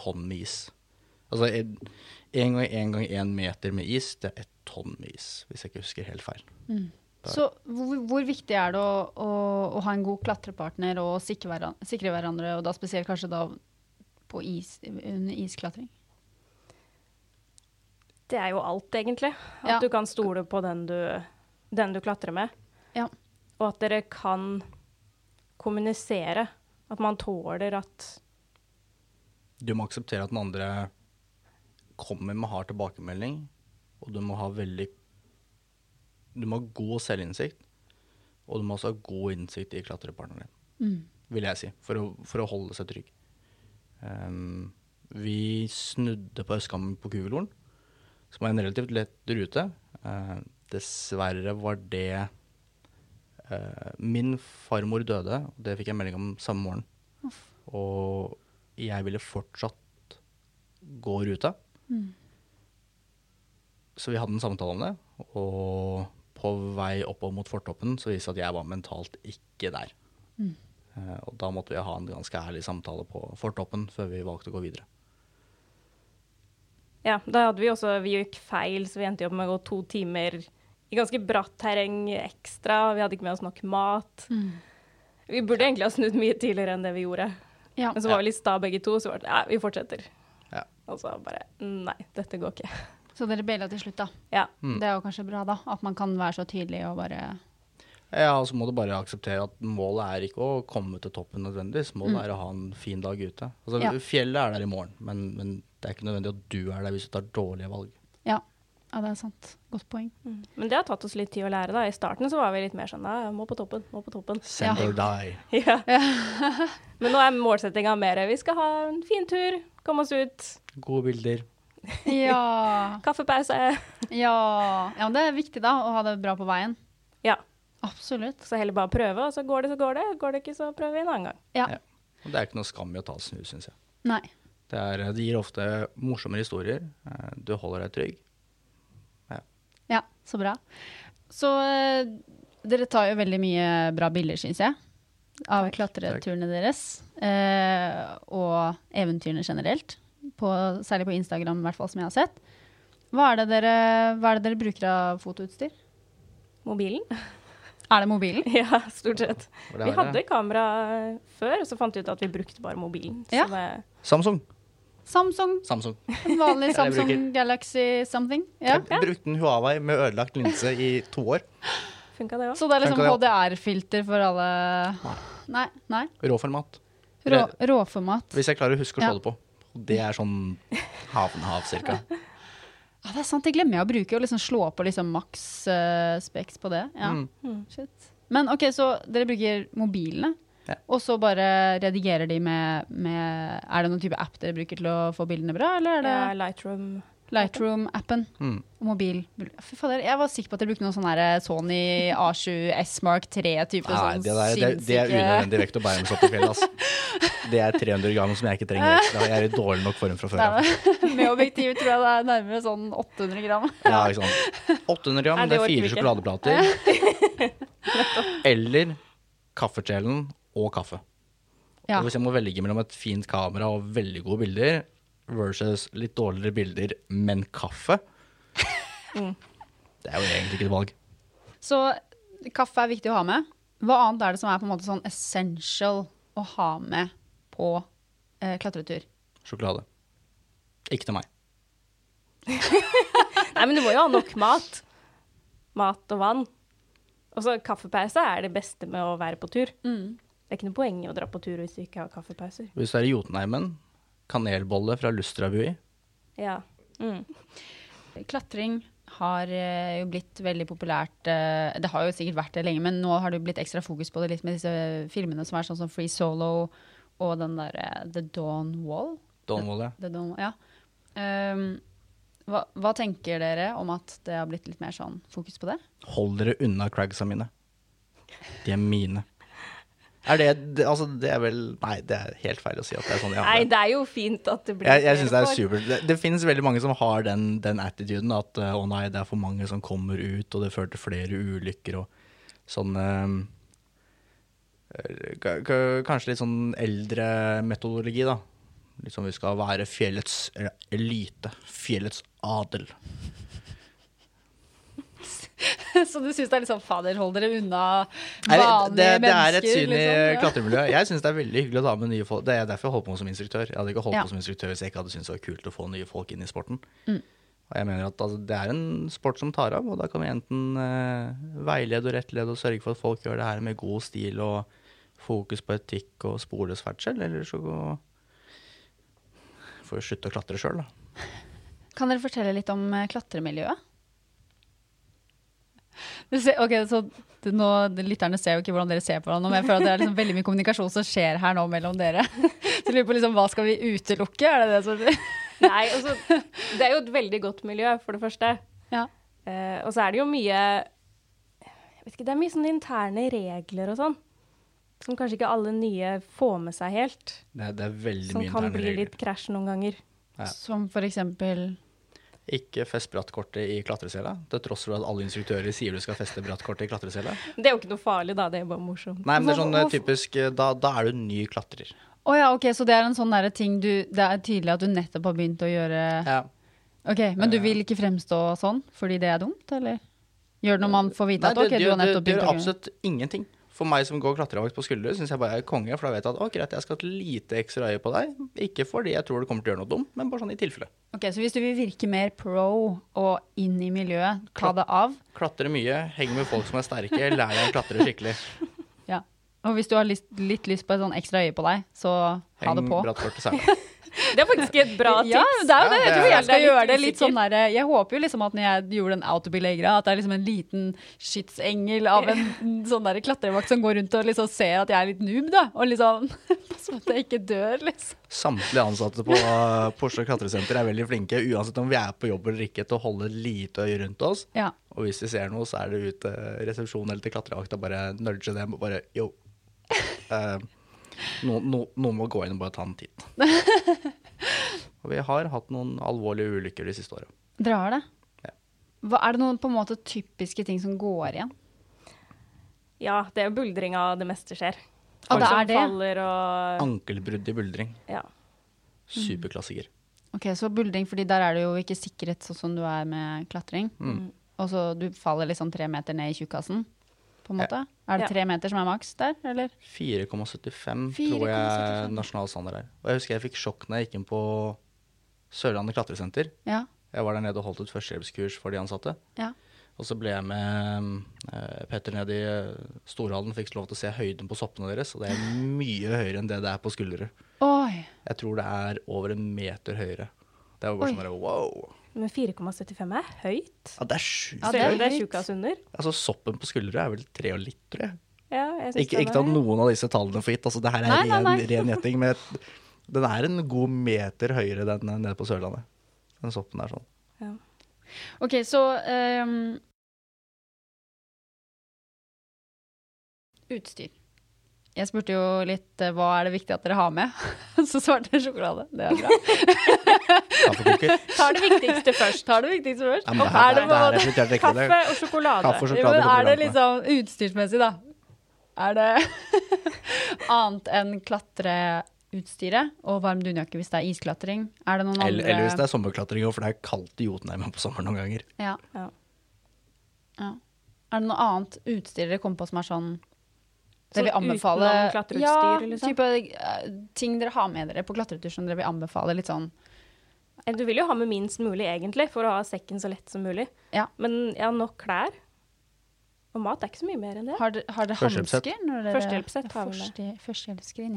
Speaker 5: tonn med is. Altså en en gang en gang en meter med is, det er ett tonn med is, hvis jeg ikke husker helt feil. Der.
Speaker 3: Så hvor, hvor viktig er det å, å, å ha en god klatrepartner og sikre hverandre, sikre hverandre og da spesielt kanskje da på is, under isklatring?
Speaker 4: Det er jo alt, egentlig. At
Speaker 3: Ja.
Speaker 4: du kan stole på den du, den du klatrer med.
Speaker 3: Ja.
Speaker 4: Og at dere kan kommunisere. At man tåler at
Speaker 5: Du må akseptere at den andre kommer med hard tilbakemelding, og du må ha veldig Du må ha god selvinnsikt, og du må også ha god innsikt i klatrepartneren din, vil jeg si, for å, for å holde seg trygg. Ehm, vi snudde på Østkammen på Kugeloren, som er en relativt lett rute. Ehm, dessverre var det eh, Min farmor døde, og det fikk jeg melding om samme morgen. Og jeg ville fortsatt gå ruta. Så vi hadde en samtale om det, og på vei oppover mot fortoppen så viste det seg at jeg var mentalt ikke der. Eh, Og da måtte vi ha en ganske ærlig samtale på fortoppen før vi valgte å gå videre.
Speaker 4: Ja, da hadde vi også Vi gikk feil, så vi endte jo opp med å gå to timer i ganske bratt terreng ekstra. Vi hadde ikke med oss nok mat.
Speaker 3: Mm.
Speaker 4: Vi burde egentlig ha snudd mye tidligere enn det vi gjorde.
Speaker 3: Ja.
Speaker 4: Men så var vi litt sta begge to, så var det ja, vi fortsetter.
Speaker 5: Ja.
Speaker 4: Og så bare nei, dette går ikke.
Speaker 3: Så dere baila til slutt, da.
Speaker 4: Ja.
Speaker 5: Mm.
Speaker 3: Det er jo kanskje bra, da. At man kan være så tydelig og bare
Speaker 5: Ja, så må du bare akseptere at målet er ikke å komme til toppen nødvendigvis. Målet er å ha en fin dag ute. Altså,
Speaker 3: Mm. Ja.
Speaker 5: Fjellet er der i morgen, men, men det er ikke nødvendig at du er der hvis du tar dårlige valg.
Speaker 3: Ja. ja, det er sant. Godt poeng.
Speaker 4: Men det har tatt oss litt tid å lære, da. I starten så var vi litt mer sånn nei, må på toppen, må på toppen.
Speaker 5: Send
Speaker 3: Ja.
Speaker 5: or die.
Speaker 4: Ja. Men nå er målsettinga mer vi skal ha en fin tur, komme oss ut,
Speaker 5: Gode bilder.
Speaker 3: Ja.
Speaker 4: kaffepause.
Speaker 3: ja. Ja, men det er viktig, da, å ha det bra på veien.
Speaker 4: Ja.
Speaker 3: Absolutt.
Speaker 4: Så heller bare prøve, og så går det, så går det. Går det ikke, så prøver vi en annen gang.
Speaker 3: Ja.
Speaker 5: Ja. Og det er ikke noe skam i å ta snus, syns jeg.
Speaker 3: Nei.
Speaker 5: Det, er, eh, det gir ofte morsommere historier. Eh, Du holder deg trygg.
Speaker 3: Ja, så bra. Så eh, dere tar jo veldig mye bra bilder, syns jeg. Av klatreturene deres. eh, og eventyrene generelt. På, særlig på Instagram, i hvert fall, som jeg har sett. Hva er, det dere, hva er det dere bruker av fotoutstyr?
Speaker 4: Mobilen?
Speaker 3: Er det mobilen?
Speaker 4: Ja, stort sett.
Speaker 5: For det
Speaker 4: Vi
Speaker 5: har
Speaker 4: hadde
Speaker 5: jeg.
Speaker 4: kamera før, så fant vi ut at vi brukte bare mobilen. Så
Speaker 3: Ja.
Speaker 4: det-
Speaker 5: Samsung.
Speaker 3: Samsung.
Speaker 5: Samsung.
Speaker 3: En vanlig
Speaker 5: Ja, det bruker.
Speaker 3: Samsung Galaxy something. Ja.
Speaker 5: Jeg brukte en Huawei med ødelagt linse i to år.
Speaker 4: funka, det òg.
Speaker 3: Så det er liksom
Speaker 5: Funker
Speaker 3: HDR-filter for alle Nei. nei.
Speaker 5: Råformat.
Speaker 3: Rå, råformat.
Speaker 5: Hvis jeg klarer å huske å
Speaker 3: Ja.
Speaker 5: slå det på. Det er sånn havnehav, cirka.
Speaker 3: Ja, Ah, det er sant, det glemmer jeg å bruke. Å liksom slå på liksom maks eh, specs på det. Ja.
Speaker 5: Mm.
Speaker 3: Shit. Men ok, så dere bruker mobilene,
Speaker 5: Ja.
Speaker 3: og så bare redigerer de med, med Er det noen type app dere bruker til å få bildene bra, eller er det
Speaker 4: Ja, Lightroom.
Speaker 3: Lightroom-appen?
Speaker 5: Mm.
Speaker 3: og Mobil. Fy fader, jeg var sikker på at dere brukte noen sånn her Sony A7 S Mark 3-type
Speaker 5: Nei,
Speaker 3: sånn
Speaker 5: det, der, det, det er unødvendig vekt å bære med sånn på fjellet. Ass. Det er 300 gram som jeg ikke trenger ekstra. Jeg er i dårlig nok form fra før av.
Speaker 3: Nei, Med objektiv tror jeg det er nærmere sånn 800 gram.
Speaker 5: Ja, ikke sant. 800 gram,
Speaker 4: Nei, det
Speaker 5: det er
Speaker 4: orker vi
Speaker 5: fire
Speaker 4: ikke.
Speaker 5: sjokoladeplater. Eller kaffekjelen og kaffe.
Speaker 3: Ja.
Speaker 5: Og hvis jeg må velge mellom et fint kamera og veldig gode bilder versus litt dårligere bilder, men kaffe Det er jo egentlig ikke et valg.
Speaker 3: Så kaffe er viktig å ha med. Hva annet er det som er på en måte sånn essential å ha med på eh, klatretur?
Speaker 5: Sjokolade. Ikke til meg.
Speaker 4: Nei, men du må jo ha nok mat. Mat og vann. Og så kaffepause er det beste med å være på tur.
Speaker 3: Mm.
Speaker 4: Det er ikke noe poeng i å dra på tur hvis du ikke har kaffepauser.
Speaker 5: Hvis du er i Jotunheimen, kanelbolle fra Lustrabui.
Speaker 4: Ja. Mm.
Speaker 3: Klatring har eh, jo blitt veldig populært. eh, Det har jo sikkert vært det lenge, men nå har det jo blitt ekstra fokus på det litt med disse filmene som er sånn som Free Solo og den derre The Dawn Wall.
Speaker 5: Donvolle.
Speaker 3: The Dawn, ja. Ehm, hva, hva tenker dere om at det har blitt litt mer sånn fokus på det?
Speaker 5: Hold dere unna cragsa mine. De er mine. Er det, det Altså, det er vel Nei, det er helt feil å si at det er sånn. Ja,
Speaker 4: Nei,
Speaker 5: men-
Speaker 4: det er jo fint at det blir
Speaker 5: jeg jeg
Speaker 4: flere
Speaker 5: syns det er
Speaker 4: folk.
Speaker 5: supert. Det, det finnes veldig mange som har den, den attituden at eh, å nei, det er for mange som kommer ut, og det fører til flere ulykker og sånn eh, k- k- Kanskje litt sånn eldre metodologi, da. Litt sånn vi skal være fjellets eh, elite. Fjellets adel.
Speaker 3: Så du syns det er litt sånn fader, hold dere unna
Speaker 5: Nei,
Speaker 3: vanlige
Speaker 5: det, det, det er et
Speaker 3: mennesker?
Speaker 5: syn i
Speaker 3: liksom.
Speaker 5: klatremiljøet. Jeg syns det er veldig hyggelig å ta med nye folk. Det er derfor jeg holdt på som instruktør. Jeg hadde ikke holdt
Speaker 3: Ja.
Speaker 5: på som instruktør hvis jeg ikke hadde syntes det var kult å få nye folk inn i sporten. Og jeg mener at altså, det er en sport som tar av, og da kan vi enten eh, veilede og rettlede og sørge for at folk gjør det her med god stil og fokus på etikk og sporløs ferdsel, eller så gå Får jo slutte å klatre sjøl, da.
Speaker 3: Kan dere fortelle litt om eh, klatremiljøet? Du ser, ok, så det, nå, de, Lytterne ser jo ikke hvordan dere ser på hverandre, men jeg føler at det er liksom veldig mye kommunikasjon som skjer her nå mellom dere. Så jeg lurer på liksom, hva skal vi utelukke? Er det det som
Speaker 4: Nei, altså, det er jo et veldig godt miljø, for det første.
Speaker 3: Ja.
Speaker 4: Eh, og så er det jo mye jeg vet ikke, Det er mye sånne interne regler og sånn. Som kanskje ikke alle nye får med seg helt.
Speaker 5: Det, er- det er veldig
Speaker 4: Som
Speaker 5: mye
Speaker 4: Sånn kan
Speaker 5: interne
Speaker 4: bli
Speaker 5: regler.
Speaker 4: litt krasj noen ganger.
Speaker 5: Ja.
Speaker 3: Som for eksempel
Speaker 5: Ikke fest brattkortet i klatresela, til tross for at alle instruktører sier du skal feste brattkortet i klatresela.
Speaker 4: Det er jo ikke noe farlig, da. Det er bare morsomt. Altså,
Speaker 5: Nei, men det er sånn eh,
Speaker 3: Hvorfor-
Speaker 5: typisk eh, Da, da er du en ny klatrer.
Speaker 3: Å ja, ok, så det er en sånn derre ting du Det er tydelig at du nettopp har begynt å gjøre Ok, Men du
Speaker 5: Eh.
Speaker 3: vil ikke fremstå sånn fordi det er dumt, eller? Gjør det når man får vite
Speaker 5: Nei,
Speaker 3: at ok,
Speaker 5: det-
Speaker 3: du har nettopp
Speaker 5: det
Speaker 3: begynt
Speaker 5: gjør
Speaker 3: å gjøre
Speaker 5: absolutt ingenting. For meg som går klatrevakt på skuldre, syns jeg bare jeg er konge. For da vet jeg at å, greit, jeg skal ha et lite ekstra øye på deg. Ikke fordi jeg tror du kommer til å gjøre noe dumt, men bare sånn i tilfelle.
Speaker 3: Ok, Så hvis du vil virke mer pro og inn i miljøet, ta
Speaker 5: Klart.
Speaker 3: det av.
Speaker 5: Klatre mye, heng med folk som er sterke, lær deg å klatre skikkelig.
Speaker 3: Ja. Og hvis du har lyst, litt lyst på et sånn ekstra øye på deg, så ha det
Speaker 5: Heng
Speaker 3: på.
Speaker 5: bratt bort til sela.
Speaker 4: Det er faktisk et bra tips.
Speaker 3: Ja, det er jo det.
Speaker 5: Ja,
Speaker 3: Jeg
Speaker 5: det
Speaker 3: tror
Speaker 5: er-
Speaker 3: jeg skal
Speaker 4: Jeg er litt
Speaker 3: gjøre det litt
Speaker 4: usikker.
Speaker 3: sånn der Jeg håper jo liksom at når jeg gjorde den autobilegra, at det er liksom en liten skytsengel av en sånn der klatrevakt som går rundt og liksom ser at jeg er litt noob, da. Og liksom Pass på at jeg ikke dør, liksom.
Speaker 5: Samtlige ansatte på eh, på Oslo klatresenter er veldig flinke, uansett om vi er på jobb eller ikke, til å holde lite øye rundt oss.
Speaker 3: Ja.
Speaker 5: Og hvis vi ser noe, så er det ut til resepsjonen eller til klatrevakta, bare nudge dem og bare yo. Eh, no- no- Noen må gå inn og bare ta en titt. Og vi har hatt noen alvorlige ulykker de siste åra.
Speaker 3: Dere har det?
Speaker 5: Ja.
Speaker 3: Hva, er det noen på en måte typiske ting som går igjen?
Speaker 4: Ja, det er buldring av det meste skjer.
Speaker 3: Ah,
Speaker 4: Folk
Speaker 3: det
Speaker 4: som
Speaker 3: er det?
Speaker 4: Faller og
Speaker 5: Ankelbrudd i buldring.
Speaker 4: ja.
Speaker 5: Superklassiker.
Speaker 3: Ok, Så buldring, fordi der er det jo ikke sikret sånn som du er med klatring.
Speaker 5: Mm.
Speaker 3: Og så du faller liksom tre meter ned i tjukkasen, på en
Speaker 5: Ja.
Speaker 3: måte. Er
Speaker 4: Ja.
Speaker 3: det tre meter som er maks der, eller?
Speaker 5: 4,75 tror jeg
Speaker 3: 4,75.
Speaker 5: nasjonal standard er. Og jeg husker jeg fikk sjokk når jeg gikk inn på Sørlandet klatresenter.
Speaker 3: Ja.
Speaker 5: Jeg var der nede og holdt et førstehjelpskurs for de ansatte.
Speaker 3: ja.
Speaker 5: Og så ble jeg med eh, Petter ned i eh, Storhallen, fikk lov til å se høyden på soppene deres, og det er mye høyere enn det det er på skuldre.
Speaker 3: Oi.
Speaker 5: Jeg tror det er over en meter høyere. Det er jo bare
Speaker 3: Oi.
Speaker 5: sånn der, wow.
Speaker 4: Men 4,75 er høyt.
Speaker 5: Ja, det er sjukt.
Speaker 3: Ja, det
Speaker 4: Selv
Speaker 3: er
Speaker 4: om det er
Speaker 3: høyt.
Speaker 4: tjukkas under.
Speaker 5: Altså, soppen på skuldre er vel tre og litt, tror jeg.
Speaker 4: Ja, jeg synes
Speaker 5: Ikke,
Speaker 4: den
Speaker 5: ikke
Speaker 4: er
Speaker 5: ta
Speaker 4: høy.
Speaker 5: noen av disse tallene for gitt, altså det her er
Speaker 3: Nei, nei, nei.
Speaker 5: ren, ren gjetning, men jeg- den er en god meter høyere den eh, nede på Sørlandet. Den soppen er sånn.
Speaker 3: Ok, så ehm, Utstyr. Jeg spurte jo litt eh, hva er det viktig at dere har med. Så svarte jeg sjokolade. Det er bra.
Speaker 5: Kaffekoker.
Speaker 4: Ta det viktigste først.
Speaker 3: Tar det viktigste først.
Speaker 5: Ja, men det
Speaker 3: Er
Speaker 5: her,
Speaker 3: det
Speaker 5: det
Speaker 3: på en
Speaker 5: her er
Speaker 3: måte-
Speaker 5: helt riktig. Det-
Speaker 4: Kaffe og sjokolade.
Speaker 5: Kaffe og
Speaker 3: Jo, men
Speaker 5: sjokolade på
Speaker 3: er det
Speaker 5: programmet.
Speaker 3: liksom utstyrsmessig, da? Er det annet enn klatreutstyret og varm dunjakke hvis det er isklatring? Er det noen
Speaker 5: Eller,
Speaker 3: andre
Speaker 5: eller hvis det er sommerklatring, for det er kaldt i Jotunheimen på sommeren noen ganger.
Speaker 3: Ja.
Speaker 4: Ja.
Speaker 3: Ja. Er det noe annet utstyr dere kom på som er sånn dere
Speaker 4: Sånn
Speaker 3: vil anbefale
Speaker 4: utenom klatreutstyr,
Speaker 3: ja,
Speaker 4: liksom?
Speaker 3: Type, eh, ting dere har med dere på klatretur som dere vil anbefale litt sånn
Speaker 4: Eh, Du vil jo ha med minst mulig, egentlig, for å ha sekken så lett som mulig.
Speaker 3: Ja.
Speaker 4: Men ja, nok klær. Og mat er ikke så mye mer enn det.
Speaker 3: Har, de- har dere
Speaker 5: Førstehjelpssett.
Speaker 3: hansker? når dere-
Speaker 4: Førstehjelpssett har vi med.
Speaker 3: Første- Førstehjelpsskrin,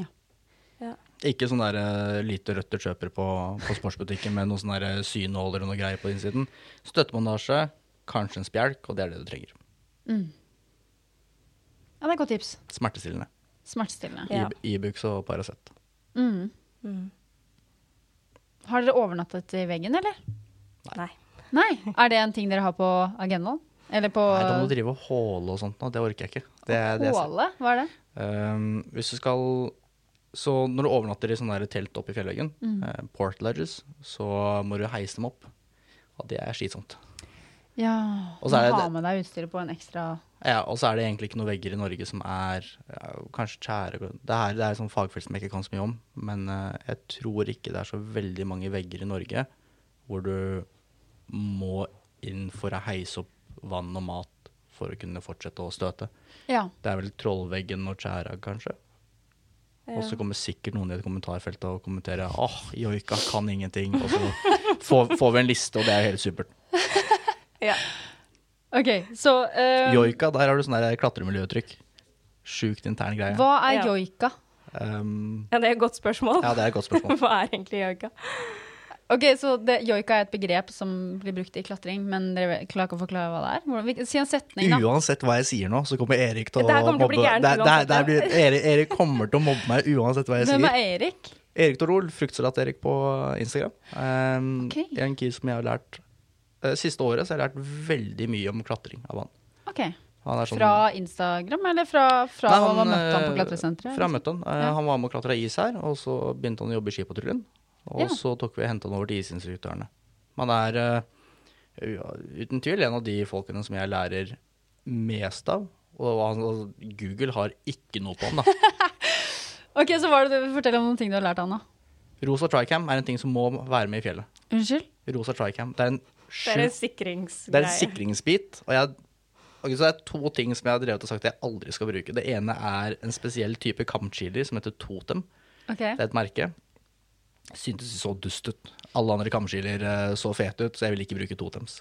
Speaker 3: ja.
Speaker 5: Ikke sånn der eh, lite rødt du kjøper på, på sportsbutikken med noen sånne der, eh, synåler og noe greier på innsiden. Støttebandasje, kanskje en spjelk, og det er det du trenger.
Speaker 3: Mm. ja. Det er et godt tips.
Speaker 5: Smertestillende.
Speaker 3: Smertestillende.
Speaker 4: Ja.
Speaker 5: I- Ibux og Paracet.
Speaker 3: Mm.
Speaker 4: Mm.
Speaker 3: Har dere overnattet i veggen, eller?
Speaker 4: Nei.
Speaker 3: Nei. Er det en ting dere har på agendaen? Eller på
Speaker 5: Nei, da må du drive og håle og sånt nå, det orker jeg ikke. Det, er- det er-
Speaker 3: Åle? Hva er det?
Speaker 5: Um, hvis du skal Så når du overnatter i sånne der telt oppe i fjellveggen, eh, port lodges, så må du heise dem opp. Og det er slitsomt.
Speaker 3: Ja.
Speaker 5: Og så er
Speaker 3: du
Speaker 5: det-
Speaker 3: har med deg utstyret på en ekstra
Speaker 5: Ja, og så er det egentlig ikke noen vegger i Norge som er ja, kanskje tjære Det her det er et sånt fagfelt som jeg ikke kan så mye om, men eh, jeg tror ikke det er så veldig mange vegger i Norge hvor du må inn for å heise opp vann og mat for å kunne fortsette å støte.
Speaker 3: Ja.
Speaker 5: Det er vel Trollveggen og Tjæra, kanskje. Og så kommer sikkert noen i et kommentarfelt og kommentere åh, joika kan ingenting. Og så får, får vi en liste, og det er jo helt supert.
Speaker 4: Eh,
Speaker 3: OK, så eh,
Speaker 5: Joika, der har du sånn der klatremiljøuttrykk. Sjukt intern greie.
Speaker 3: Hva er
Speaker 4: Ja.
Speaker 3: joika?
Speaker 5: Um,
Speaker 4: Ja, det er et godt spørsmål.
Speaker 5: ja, det er et godt spørsmål.
Speaker 4: Hva er egentlig yoga?
Speaker 3: Ok, så det, Joika er et begrep som blir brukt i klatring, men dere klarer ikke å forklare hva det er? Hvordan, vi- si en setning, da.
Speaker 5: Uansett hva jeg sier nå, så kommer Erik til å
Speaker 4: Det her kommer til å bli gæren
Speaker 5: Det- det-
Speaker 4: uansett,
Speaker 5: det blir- Erik, Erik kommer til å mobbe meg uansett hva jeg
Speaker 3: Hvem er
Speaker 5: sier.
Speaker 3: Erik?
Speaker 5: Erik Torol, fruktsalat-Erik på Instagram. Um,
Speaker 3: Ok.
Speaker 5: er En kid som jeg har lært eh, Siste året så har jeg lært veldig mye om klatring av han.
Speaker 3: Ok,
Speaker 5: Han er sånn
Speaker 3: Fra Instagram, eller fra, fra
Speaker 5: Nei,
Speaker 3: han, møtte han på
Speaker 5: eh,
Speaker 3: klatresenteret?
Speaker 5: Fra møtte han. Eh,
Speaker 3: Ja.
Speaker 5: Han var med og klatra is her, og så begynte han å jobbe i skipatruljen. Og
Speaker 3: Ja.
Speaker 5: så tok vi og henta han over til isinstruktørene. Man er eh, ja, uten tvil en av de folkene som jeg lærer mest av. Og han, altså, Google har ikke noe på ham, da.
Speaker 3: Ok, så var det, Fortell om noen ting du har lært han, da.
Speaker 5: Rosa tricam er en ting som må være med i fjellet.
Speaker 3: Unnskyld?
Speaker 5: Rosa tricam. Det er en
Speaker 4: Det er en
Speaker 5: sjukt
Speaker 4: sikringsgreie.
Speaker 5: Det er en sikringsbit, og jeg Ok, så det er to ting som jeg har drevet og sagt jeg aldri skal bruke. Det ene er en spesiell type kamchili som heter totem.
Speaker 3: Ok.
Speaker 5: Det er et merke. Syntes det så dust ut. Alle andre kamskiller eh, så fete ut, så jeg ville ikke bruke totems.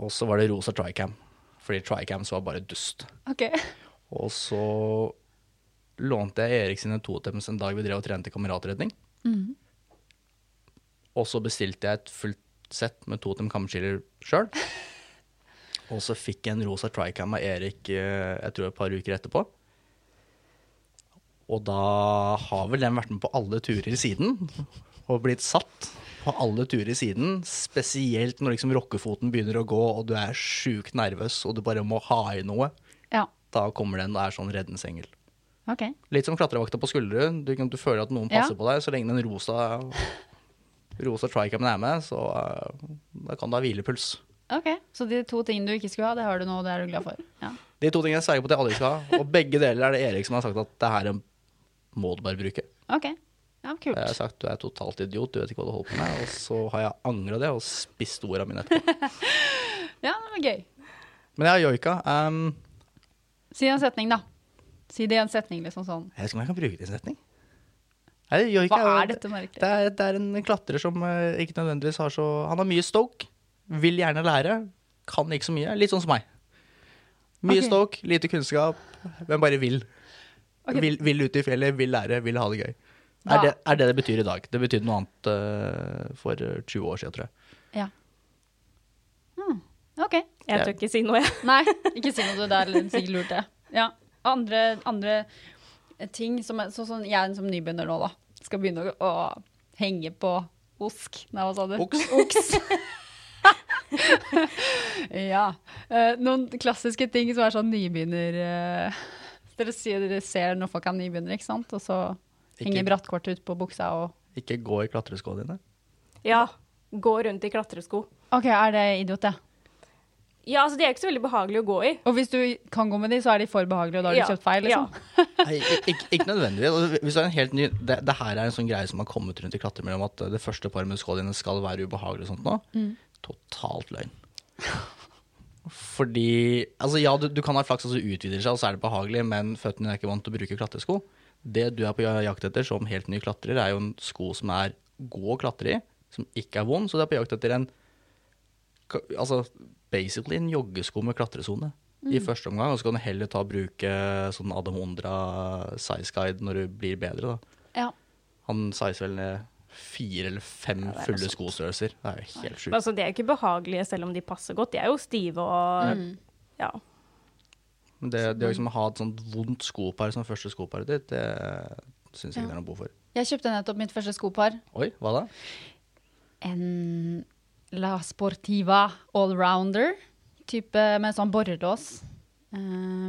Speaker 5: Og så var det rosa tricam, fordi tricams var bare dust.
Speaker 3: Ok.
Speaker 5: Og så lånte jeg Erik sine totems en dag vi drev og trente kameratredning. Og så bestilte jeg et fullt sett med totem kamskiller sjøl. Og så fikk jeg en rosa tricam av Erik eh, jeg tror et par uker etterpå. Og da har vel den vært med på alle turer siden, og blitt satt på alle turer siden. Spesielt når liksom rockefoten begynner å gå, og du er sjukt nervøs, og du bare må ha i noe
Speaker 3: Ja.
Speaker 5: da kommer den og er sånn redningsengel.
Speaker 3: Ok.
Speaker 5: Litt som klatrevakta på Skullerud. Du, du føler at noen
Speaker 3: Ja.
Speaker 5: passer på deg, så lenge den rosa, rosa tricamen er med, så eh, da kan du ha hvilepuls.
Speaker 3: Ok. Så de to tingene du ikke skulle ha, det har du nå, og det er du glad for. Ja.
Speaker 5: De to tingene jeg sverger på at jeg aldri skal ha, og begge deler er det Erik som har sagt at det her må du bare bruke.
Speaker 3: Ok. Ja,
Speaker 5: Og Jeg har
Speaker 3: kult.
Speaker 5: sagt du er totalt idiot, du vet ikke hva du holder på med, og så har jeg angra det og spist orda mine etterpå.
Speaker 3: Ja, det var gøy.
Speaker 5: Men jeg har joika. ehm,
Speaker 3: Si en setning, da. Si det i en setning, liksom sånn.
Speaker 5: jeg vet ikke om jeg kan bruke det i en setning. Nei, joika
Speaker 3: Hva
Speaker 5: jo-
Speaker 3: er dette merket?
Speaker 5: Det er, det er en klatrer som eh, ikke nødvendigvis har så Han har mye stoke, vil gjerne lære, kan ikke så mye. Litt sånn som meg. Mye
Speaker 3: Ok.
Speaker 5: stoke, lite kunnskap, men bare vil.
Speaker 3: Ok.
Speaker 5: vil. Vil ut i fjellet, vil lære, vil ha det gøy.
Speaker 3: Hva-
Speaker 5: Er det, er det det betyr i dag. Det betydde noe annet eh, for eh, 20 år siden, tror jeg.
Speaker 3: Ja. Hmm. Ok.
Speaker 4: Jeg tør ikke si noe, jeg.
Speaker 3: Nei, ikke si noe. Det er litt sikkert lurt, det. Ja. Andre, andre ting som er, Sånn som jeg som nybegynner nå, da. Skal begynne å, å henge på osk. Nei, hva sa du?
Speaker 5: Oks.
Speaker 3: ja. Eh, noen klassiske ting som er sånn nybegynner eh, dere, sier, dere ser når folk er nybegynnere, ikke sant? Og så henger
Speaker 5: Ikke,
Speaker 3: brattkortet ut på buksa og
Speaker 5: ikke gå i klatreskoene dine.
Speaker 4: Ja, gå rundt i klatresko.
Speaker 3: OK, er det idiot, det?
Speaker 4: Ja, altså de er ikke så veldig behagelige å gå i.
Speaker 3: Og hvis du kan gå med de, så er de for behagelige, og da har du
Speaker 4: Ja,
Speaker 3: kjøpt feil, liksom?
Speaker 5: Nei, ik- ikke, ikke nødvendigvis. Altså, Hvis det, er en helt ny, det, det her er en sånn greie som har kommet rundt i klatremiljøet om at eh, det første paret med skoene dine skal være ubehagelig og sånt nå. Totalt løgn. Fordi Altså ja, du, du kan ha flaks, og så utvider det seg, og så er det behagelig, men føttene dine er ikke vant til å bruke klatresko. Det du er på jakt etter som helt ny klatrer, er jo en sko som er god å klatre i, som ikke er vond, så du er på jakt etter en ka- altså basically en joggesko med klatresone i første omgang. Og så kan du heller ta og bruke sånn Adamondra size guide når du blir bedre, da.
Speaker 3: Ja.
Speaker 5: Han size vel ned fire eller fem fulle skostørrelser. Det er jo helt sjukt.
Speaker 4: Altså de er ikke behagelige selv om de passer godt. De er jo stive og
Speaker 3: Mm.
Speaker 4: ja.
Speaker 5: Men Det, det å liksom ha et sånt vondt skopar som første skoparet ditt, det syns jeg ikke det er noe behov for.
Speaker 3: Jeg kjøpte nettopp mitt første skopar.
Speaker 5: Oi, hva da?
Speaker 3: en La Sportiva allrounder. Type med sånn borrelås. Eh,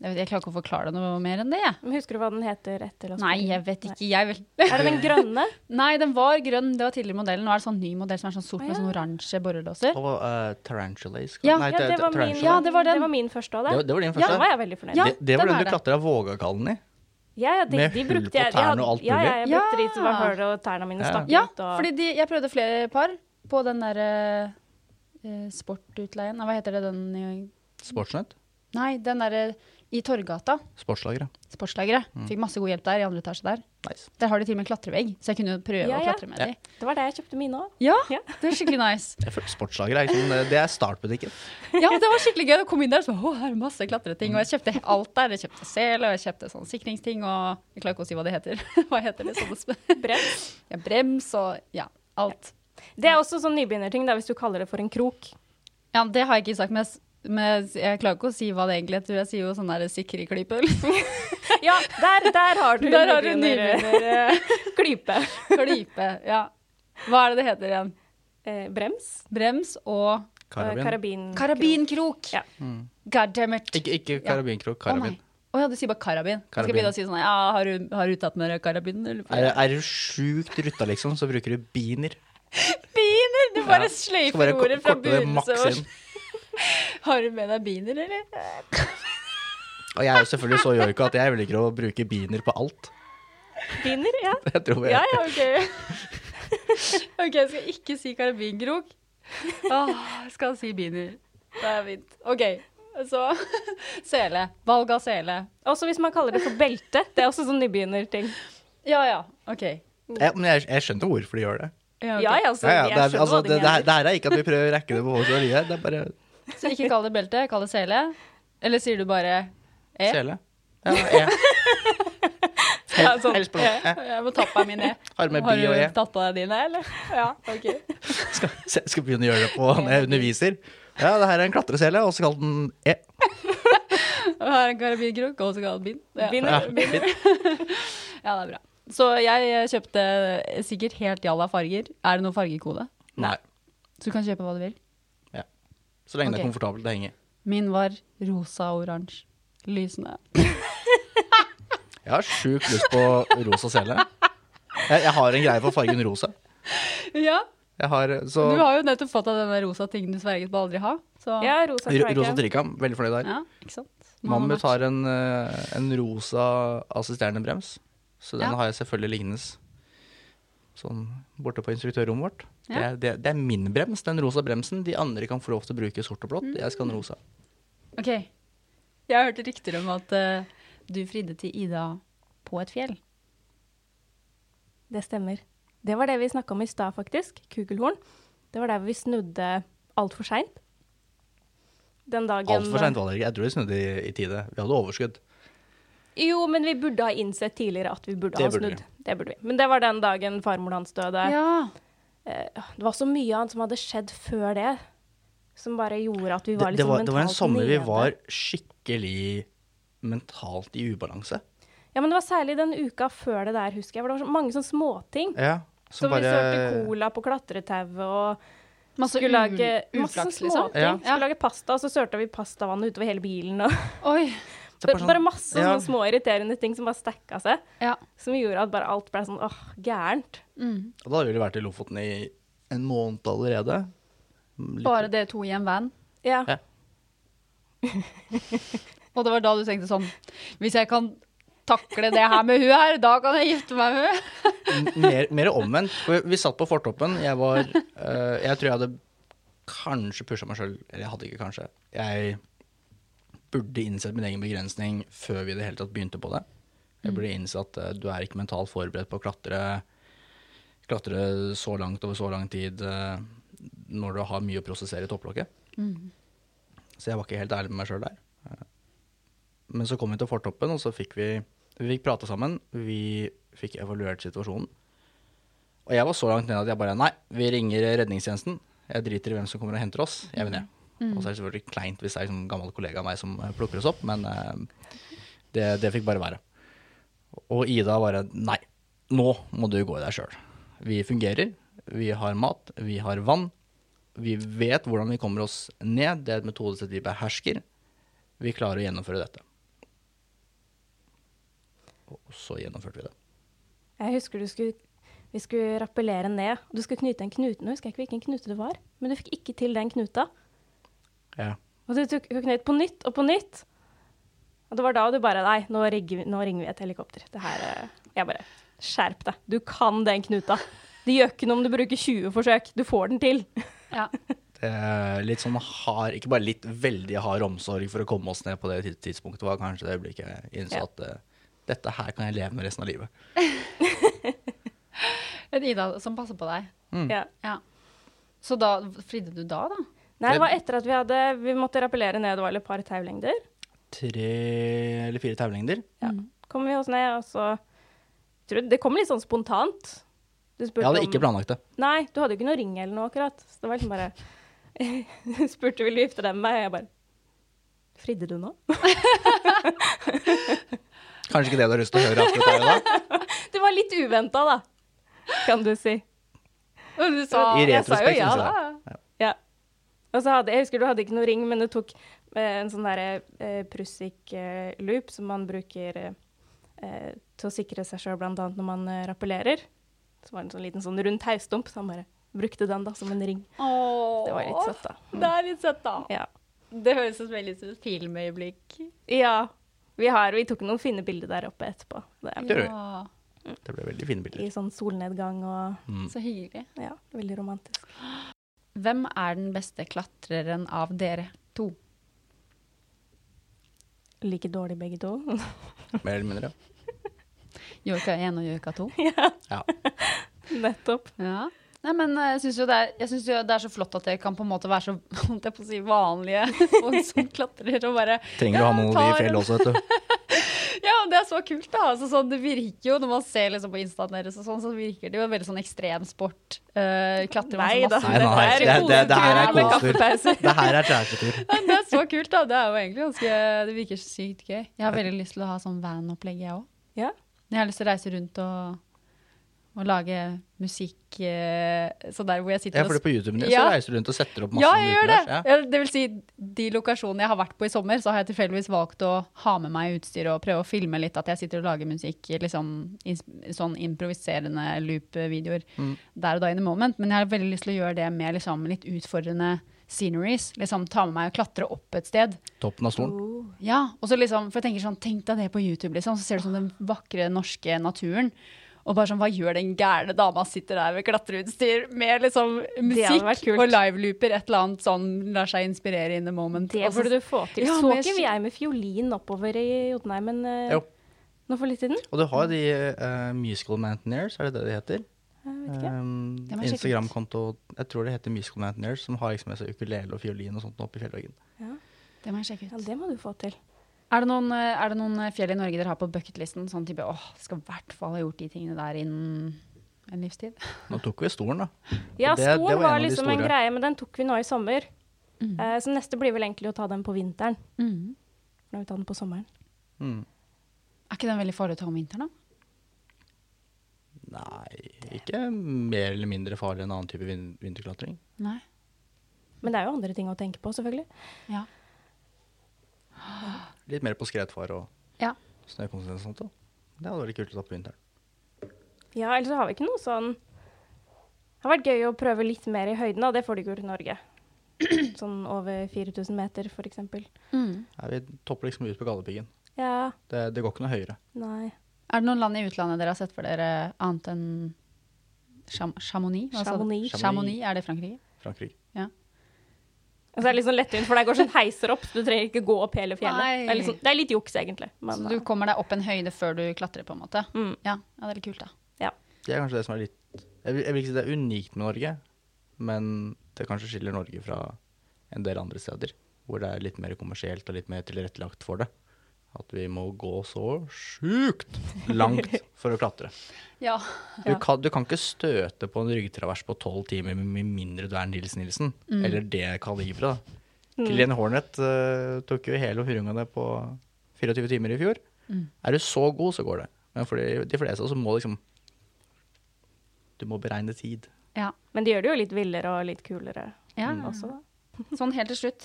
Speaker 3: jeg, vet, jeg klarer ikke å forklare det noe mer enn det. jeg.
Speaker 4: Men husker du hva den heter etter? Las
Speaker 3: Nei, jeg vet ikke. Jeg vil.
Speaker 4: Er det den grønne?
Speaker 3: Nei, den var grønn. Det var tidligere modellen. Nå er det sånn ny modell som er sånn sort med
Speaker 4: Å, ja.
Speaker 3: sånn oransje borrelåser.
Speaker 5: Og eh, tarantulas?
Speaker 3: Ja,
Speaker 4: Ja,
Speaker 5: Nei, ta-
Speaker 4: det var min,
Speaker 5: tarantula.
Speaker 4: ja,
Speaker 3: det var den.
Speaker 4: Det var min første av
Speaker 5: Det, var-
Speaker 4: det.
Speaker 5: det var din
Speaker 4: Ja,
Speaker 5: første?
Speaker 4: da var jeg veldig fornøyd.
Speaker 3: Ja.
Speaker 5: det, det var
Speaker 3: den
Speaker 5: den
Speaker 3: er
Speaker 5: du
Speaker 3: det.
Speaker 5: klatra Vågakallen i?
Speaker 4: Ja, ja, de,
Speaker 5: Med
Speaker 4: de
Speaker 5: hull
Speaker 4: brukte
Speaker 5: på
Speaker 4: jeg. de
Speaker 5: tærne
Speaker 4: hadde-
Speaker 5: og alt
Speaker 4: ja, ja,
Speaker 5: mulig.
Speaker 4: jeg brukte de som var
Speaker 3: Ja.
Speaker 4: hull, og tærne mine
Speaker 5: Ja.
Speaker 4: stakk
Speaker 3: Ja,
Speaker 4: ut. Og...
Speaker 3: fordi de, jeg prøvde flere par på den derre eh, sportutleien. Nei, hva heter det den i
Speaker 5: Sportsnett?
Speaker 3: Nei, den derre i Torgata.
Speaker 5: Sportslagere.
Speaker 3: Sportslageret.
Speaker 5: Mm.
Speaker 3: Fikk masse god hjelp der i andre etasje der.
Speaker 5: Nice.
Speaker 3: Der har de til og med klatrevegg, så jeg kunne jo prøve
Speaker 4: Ja,
Speaker 3: å
Speaker 4: ja.
Speaker 3: klatre med
Speaker 5: Ja.
Speaker 3: de.
Speaker 4: Det var det jeg kjøpte mine òg.
Speaker 3: Ja,
Speaker 4: Ja.
Speaker 3: det er skikkelig nice.
Speaker 5: Jeg føler Sportslager er liksom, det er startbutikken.
Speaker 3: Ja, men Det var skikkelig gøy. Jeg kom inn der og så, å, her er det masse klatreting. Og jeg kjøpte alt der. Jeg kjøpte sel, og jeg kjøpte sånn sikringsting, og jeg klarer ikke å si hva det heter. Hva heter det? Sånne sp-
Speaker 4: Brems.
Speaker 3: ja, brems og ja, alt.
Speaker 4: Det er også sånn nybegynnerting, da, hvis du kaller det for en krok.
Speaker 3: Ja, det har jeg ikke sagt, men jeg, s- men jeg klarer ikke å si hva det egentlig heter. Jeg sier jo sånn der sikriklype.
Speaker 4: Ja, der, der har du eh,
Speaker 3: Der har du
Speaker 4: nybegynnerklype.
Speaker 3: Klype, ja. Hva er det det heter igjen?
Speaker 4: Eh, brems.
Speaker 3: Brems og
Speaker 5: Karabin.
Speaker 4: Eh, Karabin.
Speaker 3: karabinkrok.
Speaker 4: Mm. Ja.
Speaker 3: God damn it.
Speaker 5: Mm. Ikke, ikke karabinkrok, karabin.
Speaker 3: Å ja, du sier bare karabin. Jeg skal
Speaker 5: Karabin.
Speaker 3: begynne å si sånn ja, har du, har du tatt med deg karabinen? eller?
Speaker 5: er, er du sjukt rutta, liksom, så bruker du biner.
Speaker 3: Biner! Du bare
Speaker 5: Ja. Skal
Speaker 3: sløyfer
Speaker 5: bare ko-
Speaker 3: ordet fra
Speaker 5: korte det maks
Speaker 3: begynnelse.
Speaker 5: inn.
Speaker 3: Har du med deg biner, eller?
Speaker 5: Og jeg er jo selvfølgelig så joiko at jeg velger å bruke biner på alt.
Speaker 4: Biner, ja.
Speaker 5: Jeg tror jeg.
Speaker 4: Ja, ja, ok.
Speaker 3: Ok, jeg skal ikke si karabinkrok. Åh, jeg skal si biner. Det er fint. Ok, Så sele. Valg av sele.
Speaker 4: Også hvis man kaller det for belte. Det er også sånn nybegynnerting.
Speaker 3: Ja ja, OK.
Speaker 5: Jeg, men jeg, jeg skjønte hvorfor de gjør det.
Speaker 3: Ja, ok.
Speaker 4: Ja, ja, altså,
Speaker 5: Ja, ja,
Speaker 4: jeg
Speaker 5: det, er,
Speaker 4: skjønner
Speaker 5: altså,
Speaker 4: hva de
Speaker 5: det, det, her,
Speaker 4: mener.
Speaker 5: det her er ikke at vi prøver å rekke det på håret, så vi er- det er bare
Speaker 3: Så ikke kall det belte, kall det sele. Eller sier du bare E?
Speaker 5: sele. Ja, e.
Speaker 3: Ja, sånn,
Speaker 5: Helst på noe.
Speaker 3: E. Jeg må ta på meg min E.
Speaker 5: Har du med
Speaker 3: Har
Speaker 5: bi og
Speaker 3: du
Speaker 5: e?
Speaker 3: tatt på deg dine, eller? Ja, OK.
Speaker 5: Skal, se- skal begynne å gjøre det på når jeg underviser. Ja, det her er en klatresele, og så kall den e.
Speaker 3: Og her er en karabinkrok, og så kall det bind. Ja.
Speaker 4: Bind.
Speaker 5: Ja, fint.
Speaker 3: Ja, det er bra. Så jeg eh, kjøpte sikkert helt jalla farger. Er det noen fargekode?
Speaker 5: Nei.
Speaker 3: Så du kan kjøpe hva du vil.
Speaker 5: Så lenge
Speaker 3: Ok.
Speaker 5: det er komfortabelt å henge.
Speaker 3: Min var rosa og oransje. Lysende.
Speaker 5: Jeg har sjukt lyst på rosa sele. Jeg, jeg har en greie for fargen rosa.
Speaker 3: Ja,
Speaker 5: Jeg har, så
Speaker 3: du har jo nettopp fått av denne rosa tingen du sverget på aldri ha. Så
Speaker 4: Ja, rosa
Speaker 5: ro- rosa
Speaker 4: trikam.
Speaker 5: trikam, veldig fornøyd der.
Speaker 3: Ja, ikke sant. Man
Speaker 5: Mammut
Speaker 3: match.
Speaker 5: har en, eh, en rosa assisterende brems, så den
Speaker 3: Ja.
Speaker 5: har jeg selvfølgelig liggende sånn borte på instruktørrommet vårt. Det,
Speaker 3: Ja.
Speaker 5: er, det, det er min brems, den rosa bremsen. De andre kan få lov til å bruke sort og blått, jeg skal ha den rosa.
Speaker 3: Ok. Jeg hørte rykter om at eh, du fridde til Ida på et fjell.
Speaker 4: Det stemmer. Det var det vi snakka om i stad, faktisk. Kugelhorn. Det var der vi snudde altfor seint. Den dagen
Speaker 5: Altfor seint var det ikke, jeg tror de snudde i, i tide. Vi hadde overskudd.
Speaker 4: Jo, men vi burde ha innsett tidligere at vi burde
Speaker 5: Det
Speaker 4: ha
Speaker 5: burde vi.
Speaker 4: snudd. Det burde vi. Men det var den dagen farmoren hans døde.
Speaker 3: Ja.
Speaker 4: Eh, Det var så mye annet som hadde skjedd før det, som bare gjorde at vi
Speaker 5: Det,
Speaker 4: var
Speaker 5: det,
Speaker 4: liksom
Speaker 5: var, det var en
Speaker 4: mentalt
Speaker 5: sommer vi
Speaker 4: nede.
Speaker 5: var skikkelig mentalt i ubalanse.
Speaker 4: Ja, men det var særlig den uka før det der, husker jeg. For det var så mange sånne småting.
Speaker 5: Ja,
Speaker 4: Så
Speaker 5: som
Speaker 4: vi
Speaker 5: bare
Speaker 4: kjørte cola på klatretauet og
Speaker 3: Masse
Speaker 4: skulle lage
Speaker 3: ul-
Speaker 4: masse
Speaker 3: uflaks, liksom.
Speaker 4: småting.
Speaker 5: Ja.
Speaker 4: Skulle lage pasta, og så sørta vi pastavann utover hele bilen. Og
Speaker 3: Oi.
Speaker 5: Så
Speaker 4: bare,
Speaker 5: sånn-
Speaker 4: masse
Speaker 5: ja.
Speaker 4: sånne små irriterende ting som bare stacka seg.
Speaker 3: Ja.
Speaker 4: Som gjorde at bare alt ble sånn åh, gærent.
Speaker 3: Mm.
Speaker 5: Og da hadde vi vel vært i Lofoten i en måned allerede. Litt-
Speaker 3: Bare dere to i en van.
Speaker 4: Ja.
Speaker 5: Ja.
Speaker 3: Og det var da du tenkte sånn Hvis jeg kan takle det her med hun her, da kan jeg gifte meg med hun.
Speaker 5: M- mer, mer omvendt. For vi satt på fortoppen. Jeg var eh, Jeg tror jeg hadde kanskje pusha meg sjøl. Eller jeg hadde ikke kanskje. Jeg burde innsett min egen begrensning før vi i det hele tatt begynte på det. Jeg burde innse at eh, du er ikke mentalt forberedt på å klatre, klatre så langt over så lang tid eh, når du har mye å prosessere i topplokket. Så jeg var ikke helt ærlig med meg sjøl der. Eh, Men så kom vi til fortoppen, og så fikk vi, vi fikk prate sammen. Vi fikk evaluert situasjonen. Og jeg var så langt nede at jeg bare Nei, vi ringer redningstjenesten. Jeg driter i hvem som kommer og henter oss. Jeg vil ned. Og så er det selvfølgelig kleint hvis det er en sånn gammel kollega av meg som eh, plukker oss opp, men eh, det, det fikk bare være. Og Ida bare Nei, nå må du gå i deg sjøl. Vi fungerer. Vi har mat. Vi har vann. Vi vet hvordan vi kommer oss ned. Det er et metodesett vi behersker. Vi klarer å gjennomføre dette. Og så gjennomførte vi det.
Speaker 4: Jeg husker du skulle, vi skulle rappellere ned. og Du skulle knyte en knute. Nå husker jeg ikke hvilken knute det var, men du fikk ikke til den knuta.
Speaker 5: Ja.
Speaker 4: Og du tok hun knøt på nytt og på nytt. Og det var da du bare Nei, nå ringer vi, nå ringer vi et helikopter. Det her eh, Jeg bare Skjerp deg. Du kan den knuta. Det gjør ikke noe om du bruker 20 forsøk. Du får den til.
Speaker 3: Ja.
Speaker 5: Det er litt sånn hard, ikke bare litt veldig hard omsorg for å komme oss ned på det tids- tidspunktet, var kanskje det øyeblikket jeg innså
Speaker 4: Ja.
Speaker 5: at eh, dette her kan jeg leve med resten av livet.
Speaker 3: En Ida som passer på deg.
Speaker 4: Ja.
Speaker 3: Ja. Så da fridde du da, da?
Speaker 4: Nei, det var etter at vi hadde Vi måtte rappellere ned, det var vel et par taulengder.
Speaker 5: Tre eller fire taulengder.
Speaker 4: Ja. Kom vi oss ned, og så tror jeg, Det kom litt sånn spontant. Du spurte
Speaker 5: Jeg hadde
Speaker 4: om-
Speaker 5: ikke planlagt det.
Speaker 4: Nei, du hadde jo ikke noe ring eller noe akkurat. Så det var liksom bare Du spurte vil du gifte deg med meg, og jeg bare Fridde du nå?
Speaker 5: Kanskje ikke det du har lyst til å høre akkurat her i dag.
Speaker 4: Det var litt uventa, da, kan du si.
Speaker 3: Og du sa Jeg sa
Speaker 5: I
Speaker 3: jo
Speaker 5: retrospekt
Speaker 3: ja,
Speaker 5: synes
Speaker 3: da.
Speaker 5: jeg.
Speaker 4: Ja. Og så hadde, jeg husker du hadde ikke noe ring, men du tok eh, en sånn derre eh, Prussik-loop som man bruker eh, eh, til å sikre seg sjøl, bl.a. når man eh, rappellerer. Så var det en sånn liten sånn rund taustump, så han bare brukte den da som en ring.
Speaker 3: Åh,
Speaker 4: Det var litt søtt, da.
Speaker 3: Det er litt søtt, da.
Speaker 4: Ja.
Speaker 3: Det høres ut som veldig ut som et filmøyeblikk.
Speaker 4: ja. Vi, har, vi tok noen fine bilder der oppe etterpå. Det er,
Speaker 5: Det gjør vi.
Speaker 3: Ja,
Speaker 5: Det ble veldig fine bilder. Mm.
Speaker 4: I sånn solnedgang og
Speaker 3: så hyggelig.
Speaker 4: Ja, veldig romantisk.
Speaker 3: Hvem er den beste klatreren av dere to?
Speaker 4: like dårlig begge to.
Speaker 5: Mer eller mindre.
Speaker 3: Joika 1 og joika 2.
Speaker 5: Ja.
Speaker 4: Nettopp.
Speaker 3: Ja. Nei, men eh, jeg syns jo, det er- jeg synes jo det er så flott at dere kan på en måte være så holdt jeg på å si, vanlige folk som klatrer og bare
Speaker 5: Trenger å ha noe i fjellet også, vet du.
Speaker 3: Ja, det er så kult, da. Altså, sånn, det virker jo, når man ser liksom, på instaen deres, og sånn, så virker det jo veldig sånn ekstremsport. Uh, klatre
Speaker 4: Nei
Speaker 3: masse,
Speaker 4: da,
Speaker 3: masse.
Speaker 5: Nei, nei,
Speaker 4: dette
Speaker 5: det-
Speaker 4: er
Speaker 5: det- det her er
Speaker 4: koseturer med
Speaker 5: kosetur.
Speaker 4: kaffepauser.
Speaker 5: Det her er kjærestetur.
Speaker 3: Men det er så kult, da. Det er jo egentlig ganske Det virker så sykt gøy. Jeg har veldig lyst til å ha sånn van-opplegg, jeg òg.
Speaker 4: Ja.
Speaker 3: Jeg har lyst til å reise rundt og, og lage musikk eh, sånn der hvor jeg sitter
Speaker 5: Ja, for det på YouTuben din, så
Speaker 3: Ja.
Speaker 5: reiser du rundt og setter opp masse
Speaker 3: Ja, jeg gjør det.
Speaker 5: utendørs,
Speaker 3: Ja. Det vil si, de lokasjonene jeg har vært på i sommer, så har jeg tilfeldigvis valgt å ha med meg utstyr og prøve å filme litt at jeg sitter og lager musikk, liksom ins- sånn improviserende loop-videoer
Speaker 5: Mm.
Speaker 3: der og da in the moment. Men jeg har veldig lyst til å gjøre det med liksom litt utfordrende sceneries. Liksom ta med meg og klatre opp et sted.
Speaker 5: Ja. Toppen av stolen.
Speaker 3: Oh. Ja, og så liksom, for jeg tenker sånn, tenk deg det på YouTube, liksom, så ser du sånn den vakre norske naturen. Og bare sånn, hva gjør den gærne dama sitter der med klatreutstyr, med liksom
Speaker 4: hadde vært
Speaker 3: musikk
Speaker 4: kult.
Speaker 3: og livelooper, et eller annet sånn, lar seg inspirere in the moment.
Speaker 4: Det
Speaker 3: Og så-
Speaker 4: burde du få til.
Speaker 3: Ja,
Speaker 4: så
Speaker 3: men jeg
Speaker 4: ikke
Speaker 3: sy-
Speaker 4: jeg med fiolin oppover i Jotunheimen eh,
Speaker 5: Jo.
Speaker 4: nå for litt siden?
Speaker 5: Og du har jo de eh, Musical Mountaineers, er det det de heter? Um,
Speaker 3: Det må jeg sjekke ut.
Speaker 5: Instagram-konto, jeg tror det heter Musical Mountaineers, som har liksom med seg ukulele og fiolin og sånt opp i fjellveggen.
Speaker 3: Det må jeg sjekke ut.
Speaker 4: Ja, det må du få til.
Speaker 3: Er det, noen, eh, er det noen eh, fjell i Norge dere har på bucketlisten, sånn type, åh, skal i hvert fall ha gjort de tingene der innen en livstid?
Speaker 5: Nå tok vi stolen, da.
Speaker 4: Ja,
Speaker 5: Og det- det
Speaker 4: skolen
Speaker 5: var
Speaker 4: var,
Speaker 5: en av de
Speaker 4: liksom en
Speaker 5: store.
Speaker 4: greie, men den tok vi nå i sommer.
Speaker 3: Mm.
Speaker 4: Eh, så neste blir vel egentlig å ta den på vinteren. Nå har vi tatt den på sommeren.
Speaker 5: Mm.
Speaker 3: Er ikke den veldig farlig å ta om vinteren da?
Speaker 5: Nei, ikke mer eller mindre farlig enn annen type vin vinterklatring.
Speaker 3: Nei.
Speaker 4: Men det er jo andre ting å tenke på, selvfølgelig.
Speaker 3: Ja.
Speaker 5: Litt mer på skredfare og
Speaker 3: Ja.
Speaker 5: snøkonsentrasjon og sånt. da. Det hadde vært kult å ta på vinteren.
Speaker 4: Ja, ellers så har vi ikke noe sånn Det har vært gøy å prøve litt mer i høyden, og det får du ikke gjort i Norge. Sånn over 4000 meter, for eksempel.
Speaker 3: Mm.
Speaker 5: Nei, vi topper liksom ut på Galdhøpiggen.
Speaker 4: Ja,
Speaker 5: Det, det går ikke noe høyere.
Speaker 4: nei
Speaker 3: Er det noen land i utlandet dere har sett for dere annet enn Cham Chamonix? Hva sa du?
Speaker 4: Chamonix.
Speaker 3: Chamonix, er det Frankrike?
Speaker 5: Frankrike.
Speaker 4: Altså, det er litt sånn lettvint, for der går sånn heiser opp, så du trenger ikke gå opp hele
Speaker 3: Nei.
Speaker 4: fjellet. Det er, litt sånn, det er litt juks, egentlig. Men, eh,
Speaker 3: så du kommer deg opp en høyde før du klatrer, på en måte?
Speaker 4: Mm.
Speaker 3: Ja, ja det er litt kult, da.
Speaker 5: Det er kanskje det som er litt Jeg vil, jeg vil ikke si det er unikt med Norge, men det kanskje skiller Norge fra en del andre steder. Hvor det er litt mer kommersielt og litt mer tilrettelagt for det. At vi må gå så sjukt langt for å klatre.
Speaker 3: Ja.
Speaker 5: Du kan, du kan ikke støte på en ryggtravers på tolv timer med mindre du er Nils Nilsen. Eller det kaliberet, da. Killian Hornet eh, tok jo hele hurungene på 24 timer i fjor. Er du så god, så går det. Men for de, de fleste så må liksom Du må beregne tid.
Speaker 3: ja.
Speaker 4: men det gjør det jo litt villere og litt kulere
Speaker 3: ja.
Speaker 4: også, da.
Speaker 3: Sånn helt til slutt.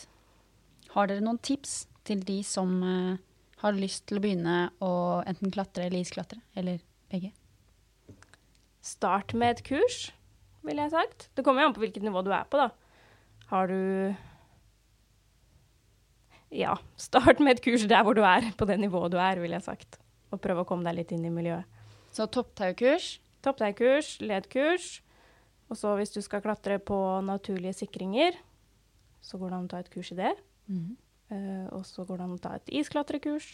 Speaker 3: Har dere noen tips til de som eh, har lyst til å begynne å enten klatre eller isklatre? Eller begge?
Speaker 4: Start med et kurs, ville jeg sagt. Det kommer jo an på hvilket nivå du er på, da. Har du Ja, start med et kurs der hvor du er, på det nivået du er, ville jeg sagt. Og prøv å komme deg litt inn i miljøet.
Speaker 3: Så topptaukurs.
Speaker 4: Topp deg kurs, led kurs. Og så hvis du skal klatre på naturlige sikringer, så går det an å ta et kurs i det.
Speaker 3: Mm-hmm.
Speaker 4: Eh, og så går det an å ta et isklatrekurs.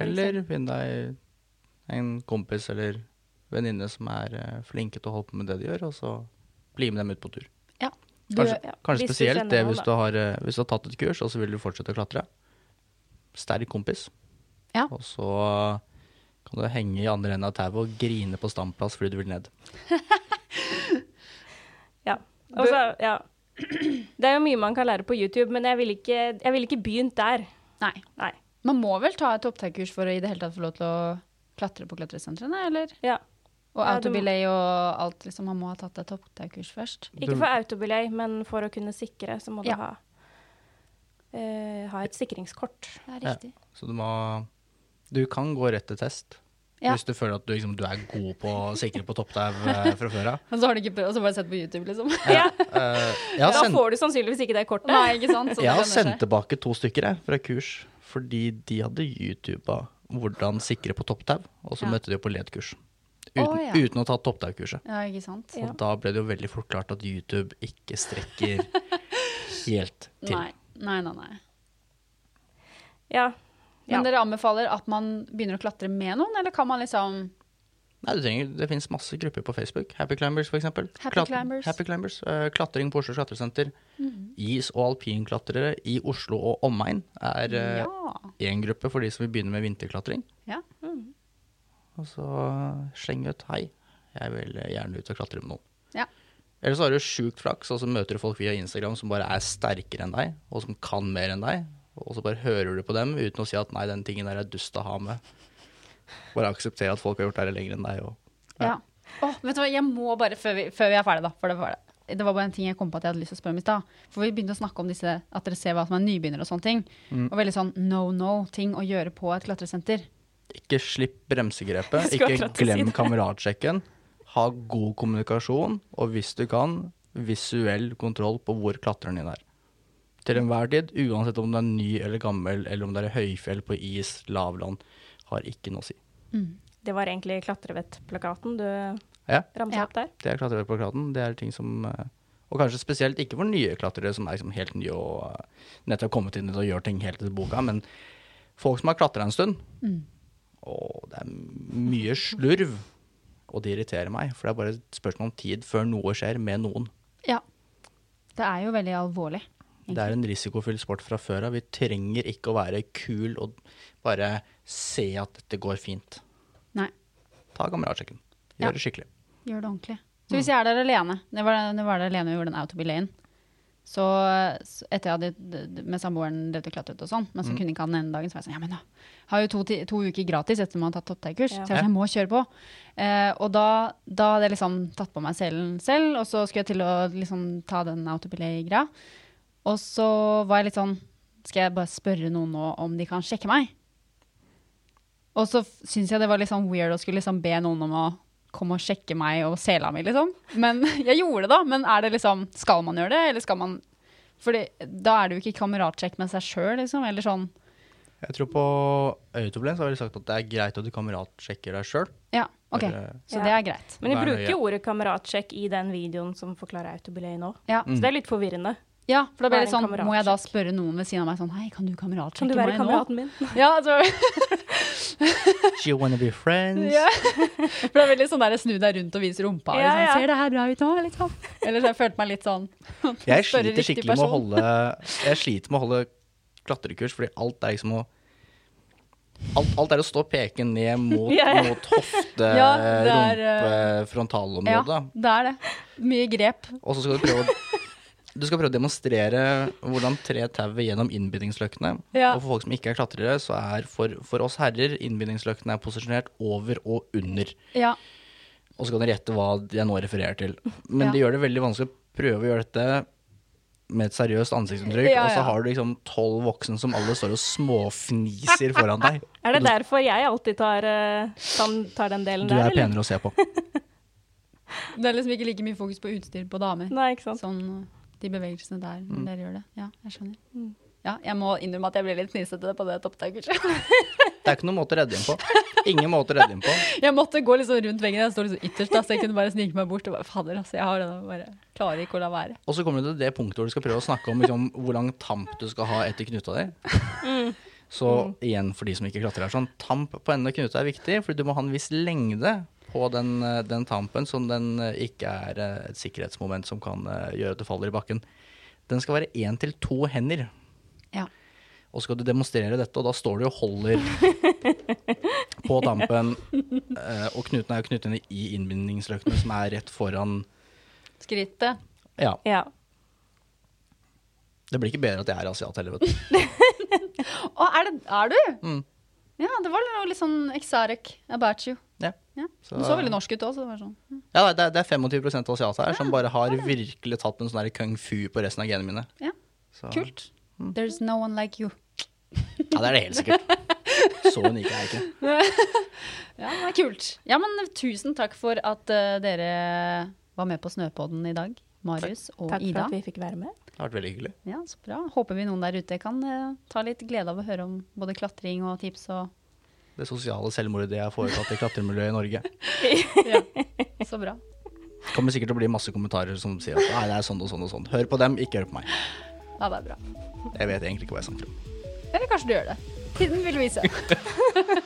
Speaker 5: Eller finn deg en kompis eller venninne som er eh, flinke til å holde på med det de gjør, og så bli med dem ut på tur.
Speaker 3: Ja. Du,
Speaker 5: Kanskje,
Speaker 4: ja,
Speaker 5: kanskje
Speaker 4: hvis du
Speaker 5: spesielt
Speaker 4: kjenner
Speaker 5: det
Speaker 4: noen,
Speaker 5: hvis
Speaker 4: da.
Speaker 5: du, har, eh, hvis du har tatt et kurs, og så vil du fortsette å klatre. Sterk kompis.
Speaker 3: Ja.
Speaker 5: Og så kan du henge i andre enden av tauet og grine på standplass fordi du vil ned.
Speaker 4: Ja. Og så- ja. Det er jo mye man kan lære på YouTube, men jeg ville ikke, jeg ville ikke begynt der.
Speaker 3: nei.
Speaker 4: Nei.
Speaker 3: Man må vel ta et opptakkurs for å i det hele tatt få lov til å klatre på klatresentrene, eller?
Speaker 4: Ja.
Speaker 3: Og
Speaker 4: Ja, du må-
Speaker 3: autobillet og alt, liksom, man må ha tatt et topptaukurs først.
Speaker 4: Ikke for autobillet, men for å kunne sikre, så må
Speaker 3: Ja.
Speaker 4: du ha, eh, ha et sikringskort.
Speaker 3: Det er
Speaker 5: Ja.
Speaker 3: riktig.
Speaker 5: Så du må Du kan gå rett til test.
Speaker 3: Ja.
Speaker 5: Hvis du føler at du, liksom, du er god på å sikre på topptau eh, fra før av.
Speaker 3: Og så har du ikke prøvd, og så bare sett på YouTube, liksom.
Speaker 4: Ja.
Speaker 5: Eh, jeg har
Speaker 4: Da
Speaker 5: sendt-
Speaker 4: får du sannsynligvis ikke det kortet.
Speaker 3: Nei, ikke sant? Så det
Speaker 5: Jeg har
Speaker 3: sånn lønner seg.
Speaker 5: sendt tilbake to stykker jeg, fra kurs, fordi de hadde YouTuba hvordan sikre på topptau, og så
Speaker 3: Ja.
Speaker 5: møtte de jo på ledkurs. Uten,
Speaker 3: Å, ja.
Speaker 5: uten å ta topptaukurset.
Speaker 3: Ja, ikke sant?
Speaker 4: Ja.
Speaker 5: Og da ble det jo veldig fort klart at YouTube ikke strekker helt til.
Speaker 3: Nei, nei, nei. nei.
Speaker 4: Ja.
Speaker 3: Men
Speaker 4: Ja.
Speaker 3: dere anbefaler at man begynner å klatre med noen, eller kan man liksom
Speaker 5: Nei, du trenger, Det finnes masse grupper på Facebook. Happy Climbers, f.eks.
Speaker 3: Happy Climbers. Mhm.
Speaker 5: Happy Climbers eh, klatring på Oslo Klatresenter. Is- og alpinklatrere i Oslo og omegn er eh,
Speaker 3: Ja.
Speaker 5: én gruppe for de som vil begynne med vinterklatring.
Speaker 3: ja.
Speaker 5: Og så slenge ut 'hei, jeg vil gjerne ut og klatre med noen'.
Speaker 3: Ja.
Speaker 5: Eller så har du sjukt flaks, og så møter du folk via Instagram som bare er sterkere enn deg, og som kan mer enn deg. Og så bare hører du på dem uten å si at 'nei, den tingen der er dust å ha med'. Bare akseptere at folk har gjort det her lenger enn deg. Og
Speaker 3: Ja. Åh, vet du hva, jeg må bare, før vi, før vi er ferdige, da. For det, var det. det var bare en ting jeg kom på at jeg hadde lyst til å spørre om i stad. For vi begynte å snakke om disse, at dere ser hva som er nybegynner og sånne ting. Og veldig sånn no no-ting å gjøre på et klatresenter.
Speaker 5: Ikke slipp bremsegrepet.
Speaker 4: Jeg skulle
Speaker 5: Ikke
Speaker 4: akkurat til å si
Speaker 5: glem
Speaker 4: det.
Speaker 5: kameratsjekken. Ha god kommunikasjon, og hvis du kan, visuell kontroll på hvor klatreren din er. Til enhver tid, uansett om du er ny eller gammel, eller om det er høyfjell på is, lavland, har ikke noe å si.
Speaker 4: Det var egentlig klatrevettplakaten du
Speaker 5: Ja,
Speaker 4: ramset
Speaker 3: Ja.
Speaker 4: opp der.
Speaker 5: det er klatreplakaten. Det er ting som eh, Og kanskje spesielt ikke for nye klatrere som er liksom helt nye og eh, nettopp har kommet inn og gjør ting helt etter boka, men folk som har klatra en stund Og det er mye slurv, og det irriterer meg. For det er bare et spørsmål om tid før noe skjer med noen.
Speaker 3: Ja. Det er jo veldig alvorlig.
Speaker 5: Det er en risikofylt sport fra før av. Vi trenger ikke å være kul og bare se at dette går fint.
Speaker 3: Nei,
Speaker 5: Ta kameratsjekken.
Speaker 3: Ja.
Speaker 5: Gjør det skikkelig.
Speaker 3: gjør det ordentlig. Så hvis jeg er der alene, det var, det var der alene vi gjorde den autobilayen, så, så etter jeg hadde d- d- med samboeren drevet og klatret og sånn, men så kunne ikke han den ene dagen, så var jeg sånn, ja, men da har jeg jo to, ti- to uker gratis etter man har tatt topptekkurs,
Speaker 4: Ja.
Speaker 3: så jeg, var sånn, jeg må kjøre på. Eh, og da, da hadde jeg liksom tatt på meg selen selv, og så skulle jeg til å liksom ta den autobilay-greia. Og så var jeg litt sånn, skal jeg bare spørre noen nå om de kan sjekke meg? Og så f- syns jeg det var litt sånn weird å skulle liksom be noen om å komme og sjekke meg og sela mi, liksom. Men jeg gjorde det, da. Men er det liksom Skal man gjøre det, eller skal man Fordi da er det jo ikke kameratsjekk med seg sjøl, liksom. Eller sånn.
Speaker 5: Jeg tror på autoblend så har de sagt at det er greit at du kameratsjekker deg sjøl.
Speaker 3: Ja, OK.
Speaker 5: Bare-
Speaker 3: Så
Speaker 4: Ja.
Speaker 3: det er greit.
Speaker 4: Men de
Speaker 5: Vær
Speaker 4: bruker
Speaker 5: nøye.
Speaker 4: jo ordet kameratsjekk i den videoen som forklarer autobilay nå.
Speaker 3: Ja.
Speaker 5: Mm.
Speaker 4: Så det er litt forvirrende.
Speaker 3: ja, for da
Speaker 4: Hva
Speaker 3: blir
Speaker 4: er
Speaker 3: det
Speaker 4: en
Speaker 3: sånn Må jeg da
Speaker 4: kameratsjekk?
Speaker 3: spørre noen ved siden av meg sånn Hei, kan du
Speaker 4: Kan
Speaker 3: kameratsjekke
Speaker 4: du være
Speaker 3: meg nå?
Speaker 4: kameraten min?
Speaker 3: Ja, altså,
Speaker 5: Do you wanna be friends?
Speaker 3: ja. For det er veldig sånn der snu deg rundt og vis rumpa.
Speaker 4: Ja,
Speaker 3: liksom.
Speaker 4: ja.
Speaker 3: Ser det her bra ut nå? Liksom. Eller så jeg følte meg litt sånn
Speaker 5: Jeg
Speaker 3: Spørre
Speaker 5: sliter
Speaker 3: riktig
Speaker 5: skikkelig med å
Speaker 3: person.
Speaker 5: holde Jeg sliter med å holde klatrekurs, fordi alt er liksom å Alt, alt er å stå og peke ned mot,
Speaker 4: Ja, ja.
Speaker 5: mot hofte,
Speaker 3: Ja, det er, eh,
Speaker 5: rumpe,
Speaker 3: Ja,
Speaker 5: frontalområdet.
Speaker 3: det er det. Mye grep.
Speaker 5: Og så skal du prøve å du skal prøve å demonstrere hvordan tre tauet gjennom innbindingsløkkene.
Speaker 3: Ja.
Speaker 5: Og for folk som ikke er klatrere, så er for, for oss herrer innbindingsløkkene er posisjonert over og under.
Speaker 3: Ja.
Speaker 5: og så kan dere gjette hva jeg nå refererer til. Men
Speaker 3: Ja.
Speaker 5: det gjør det veldig vanskelig å prøve å gjøre dette med et seriøst ansiktsuttrykk,
Speaker 3: Ja,
Speaker 5: og så
Speaker 3: ja.
Speaker 5: har du liksom tolv voksne som alle står og småfniser foran deg.
Speaker 4: Er det derfor jeg alltid tar, eh, tar- tar den delen
Speaker 5: Du
Speaker 4: der?
Speaker 5: er
Speaker 4: eller?
Speaker 5: penere å se på.
Speaker 3: Det er liksom ikke like mye fokus på utstyr på damer.
Speaker 4: Nei, ikke sant.
Speaker 3: Sånn de bevegelsene der
Speaker 5: Mm.
Speaker 3: når dere gjør det. Ja, jeg skjønner.
Speaker 4: Mm.
Speaker 3: Ja, jeg må innrømme at jeg ble litt fnisete på det topptaket.
Speaker 5: Det er ikke noen måte å redde inn på. Ingen måte å redde inn på.
Speaker 3: Jeg måtte gå liksom rundt veggen, jeg står liksom ytterst, da, så jeg kunne bare snike meg bort og bare fader, altså, jeg har det da, bare klarer ikke å la være.
Speaker 5: Og så kommer du til det punktet hvor du skal prøve å snakke om liksom, hvor lang tamp du skal ha etter knuta di. Så igjen, for de som ikke klatrer, er sånn tamp på enden av knuta er viktig, fordi du må ha en viss lengde på den, eh, den tampen, som den eh, ikke er eh, et sikkerhetsmoment som kan eh, gjøre at du faller i bakken. Den skal være én til to hender.
Speaker 3: Ja.
Speaker 5: Og så skal du demonstrere dette, og da står du og holder på dampen. eh, Og knuten er jo knyttet inn i innbindingsløkene, som er rett foran
Speaker 3: Skrittet.
Speaker 5: Ja.
Speaker 4: Ja.
Speaker 5: Det blir ikke bedre at jeg er asiat heller, vet du.
Speaker 3: Å, er, det, er du?
Speaker 5: Mm.
Speaker 3: Ja, det var noe litt sånn exotic about you.
Speaker 5: Ja.
Speaker 3: Ja.
Speaker 5: Så-
Speaker 3: Du så veldig norsk ut òg, så det var sånn.
Speaker 5: Ja, nei, det, er- det er 25 asiater her som bare har virkelig tatt en sånn der kung fu på resten av genene mine.
Speaker 3: Ja.
Speaker 5: Så,
Speaker 3: Kult.
Speaker 5: Mm.
Speaker 3: There's no one like you.
Speaker 5: Ja, det er det helt sikkert. Så unik er jeg ikke.
Speaker 3: Ja, det er kult. Ja, men tusen takk for at eh, dere var med på Snøpodden i dag. Marius og
Speaker 4: Takk for
Speaker 3: Ida.
Speaker 4: at vi fikk være med.
Speaker 5: Det har vært veldig hyggelig.
Speaker 3: Ja, så bra. Håper vi noen der ute kan eh, ta litt glede av å høre om både klatring og tips og
Speaker 5: Det sosiale selvmordet jeg har foretatt i klatremiljøet i Norge.
Speaker 3: Så bra.
Speaker 5: Det kommer sikkert til å bli masse kommentarer som sier at nei, det er sånn og sånn og sånn. Hør på dem, ikke hør på meg.
Speaker 3: Ja, det er bra.
Speaker 5: Jeg vet egentlig ikke hva jeg snakker om.
Speaker 3: Eller kanskje du gjør det. Tiden vil vise.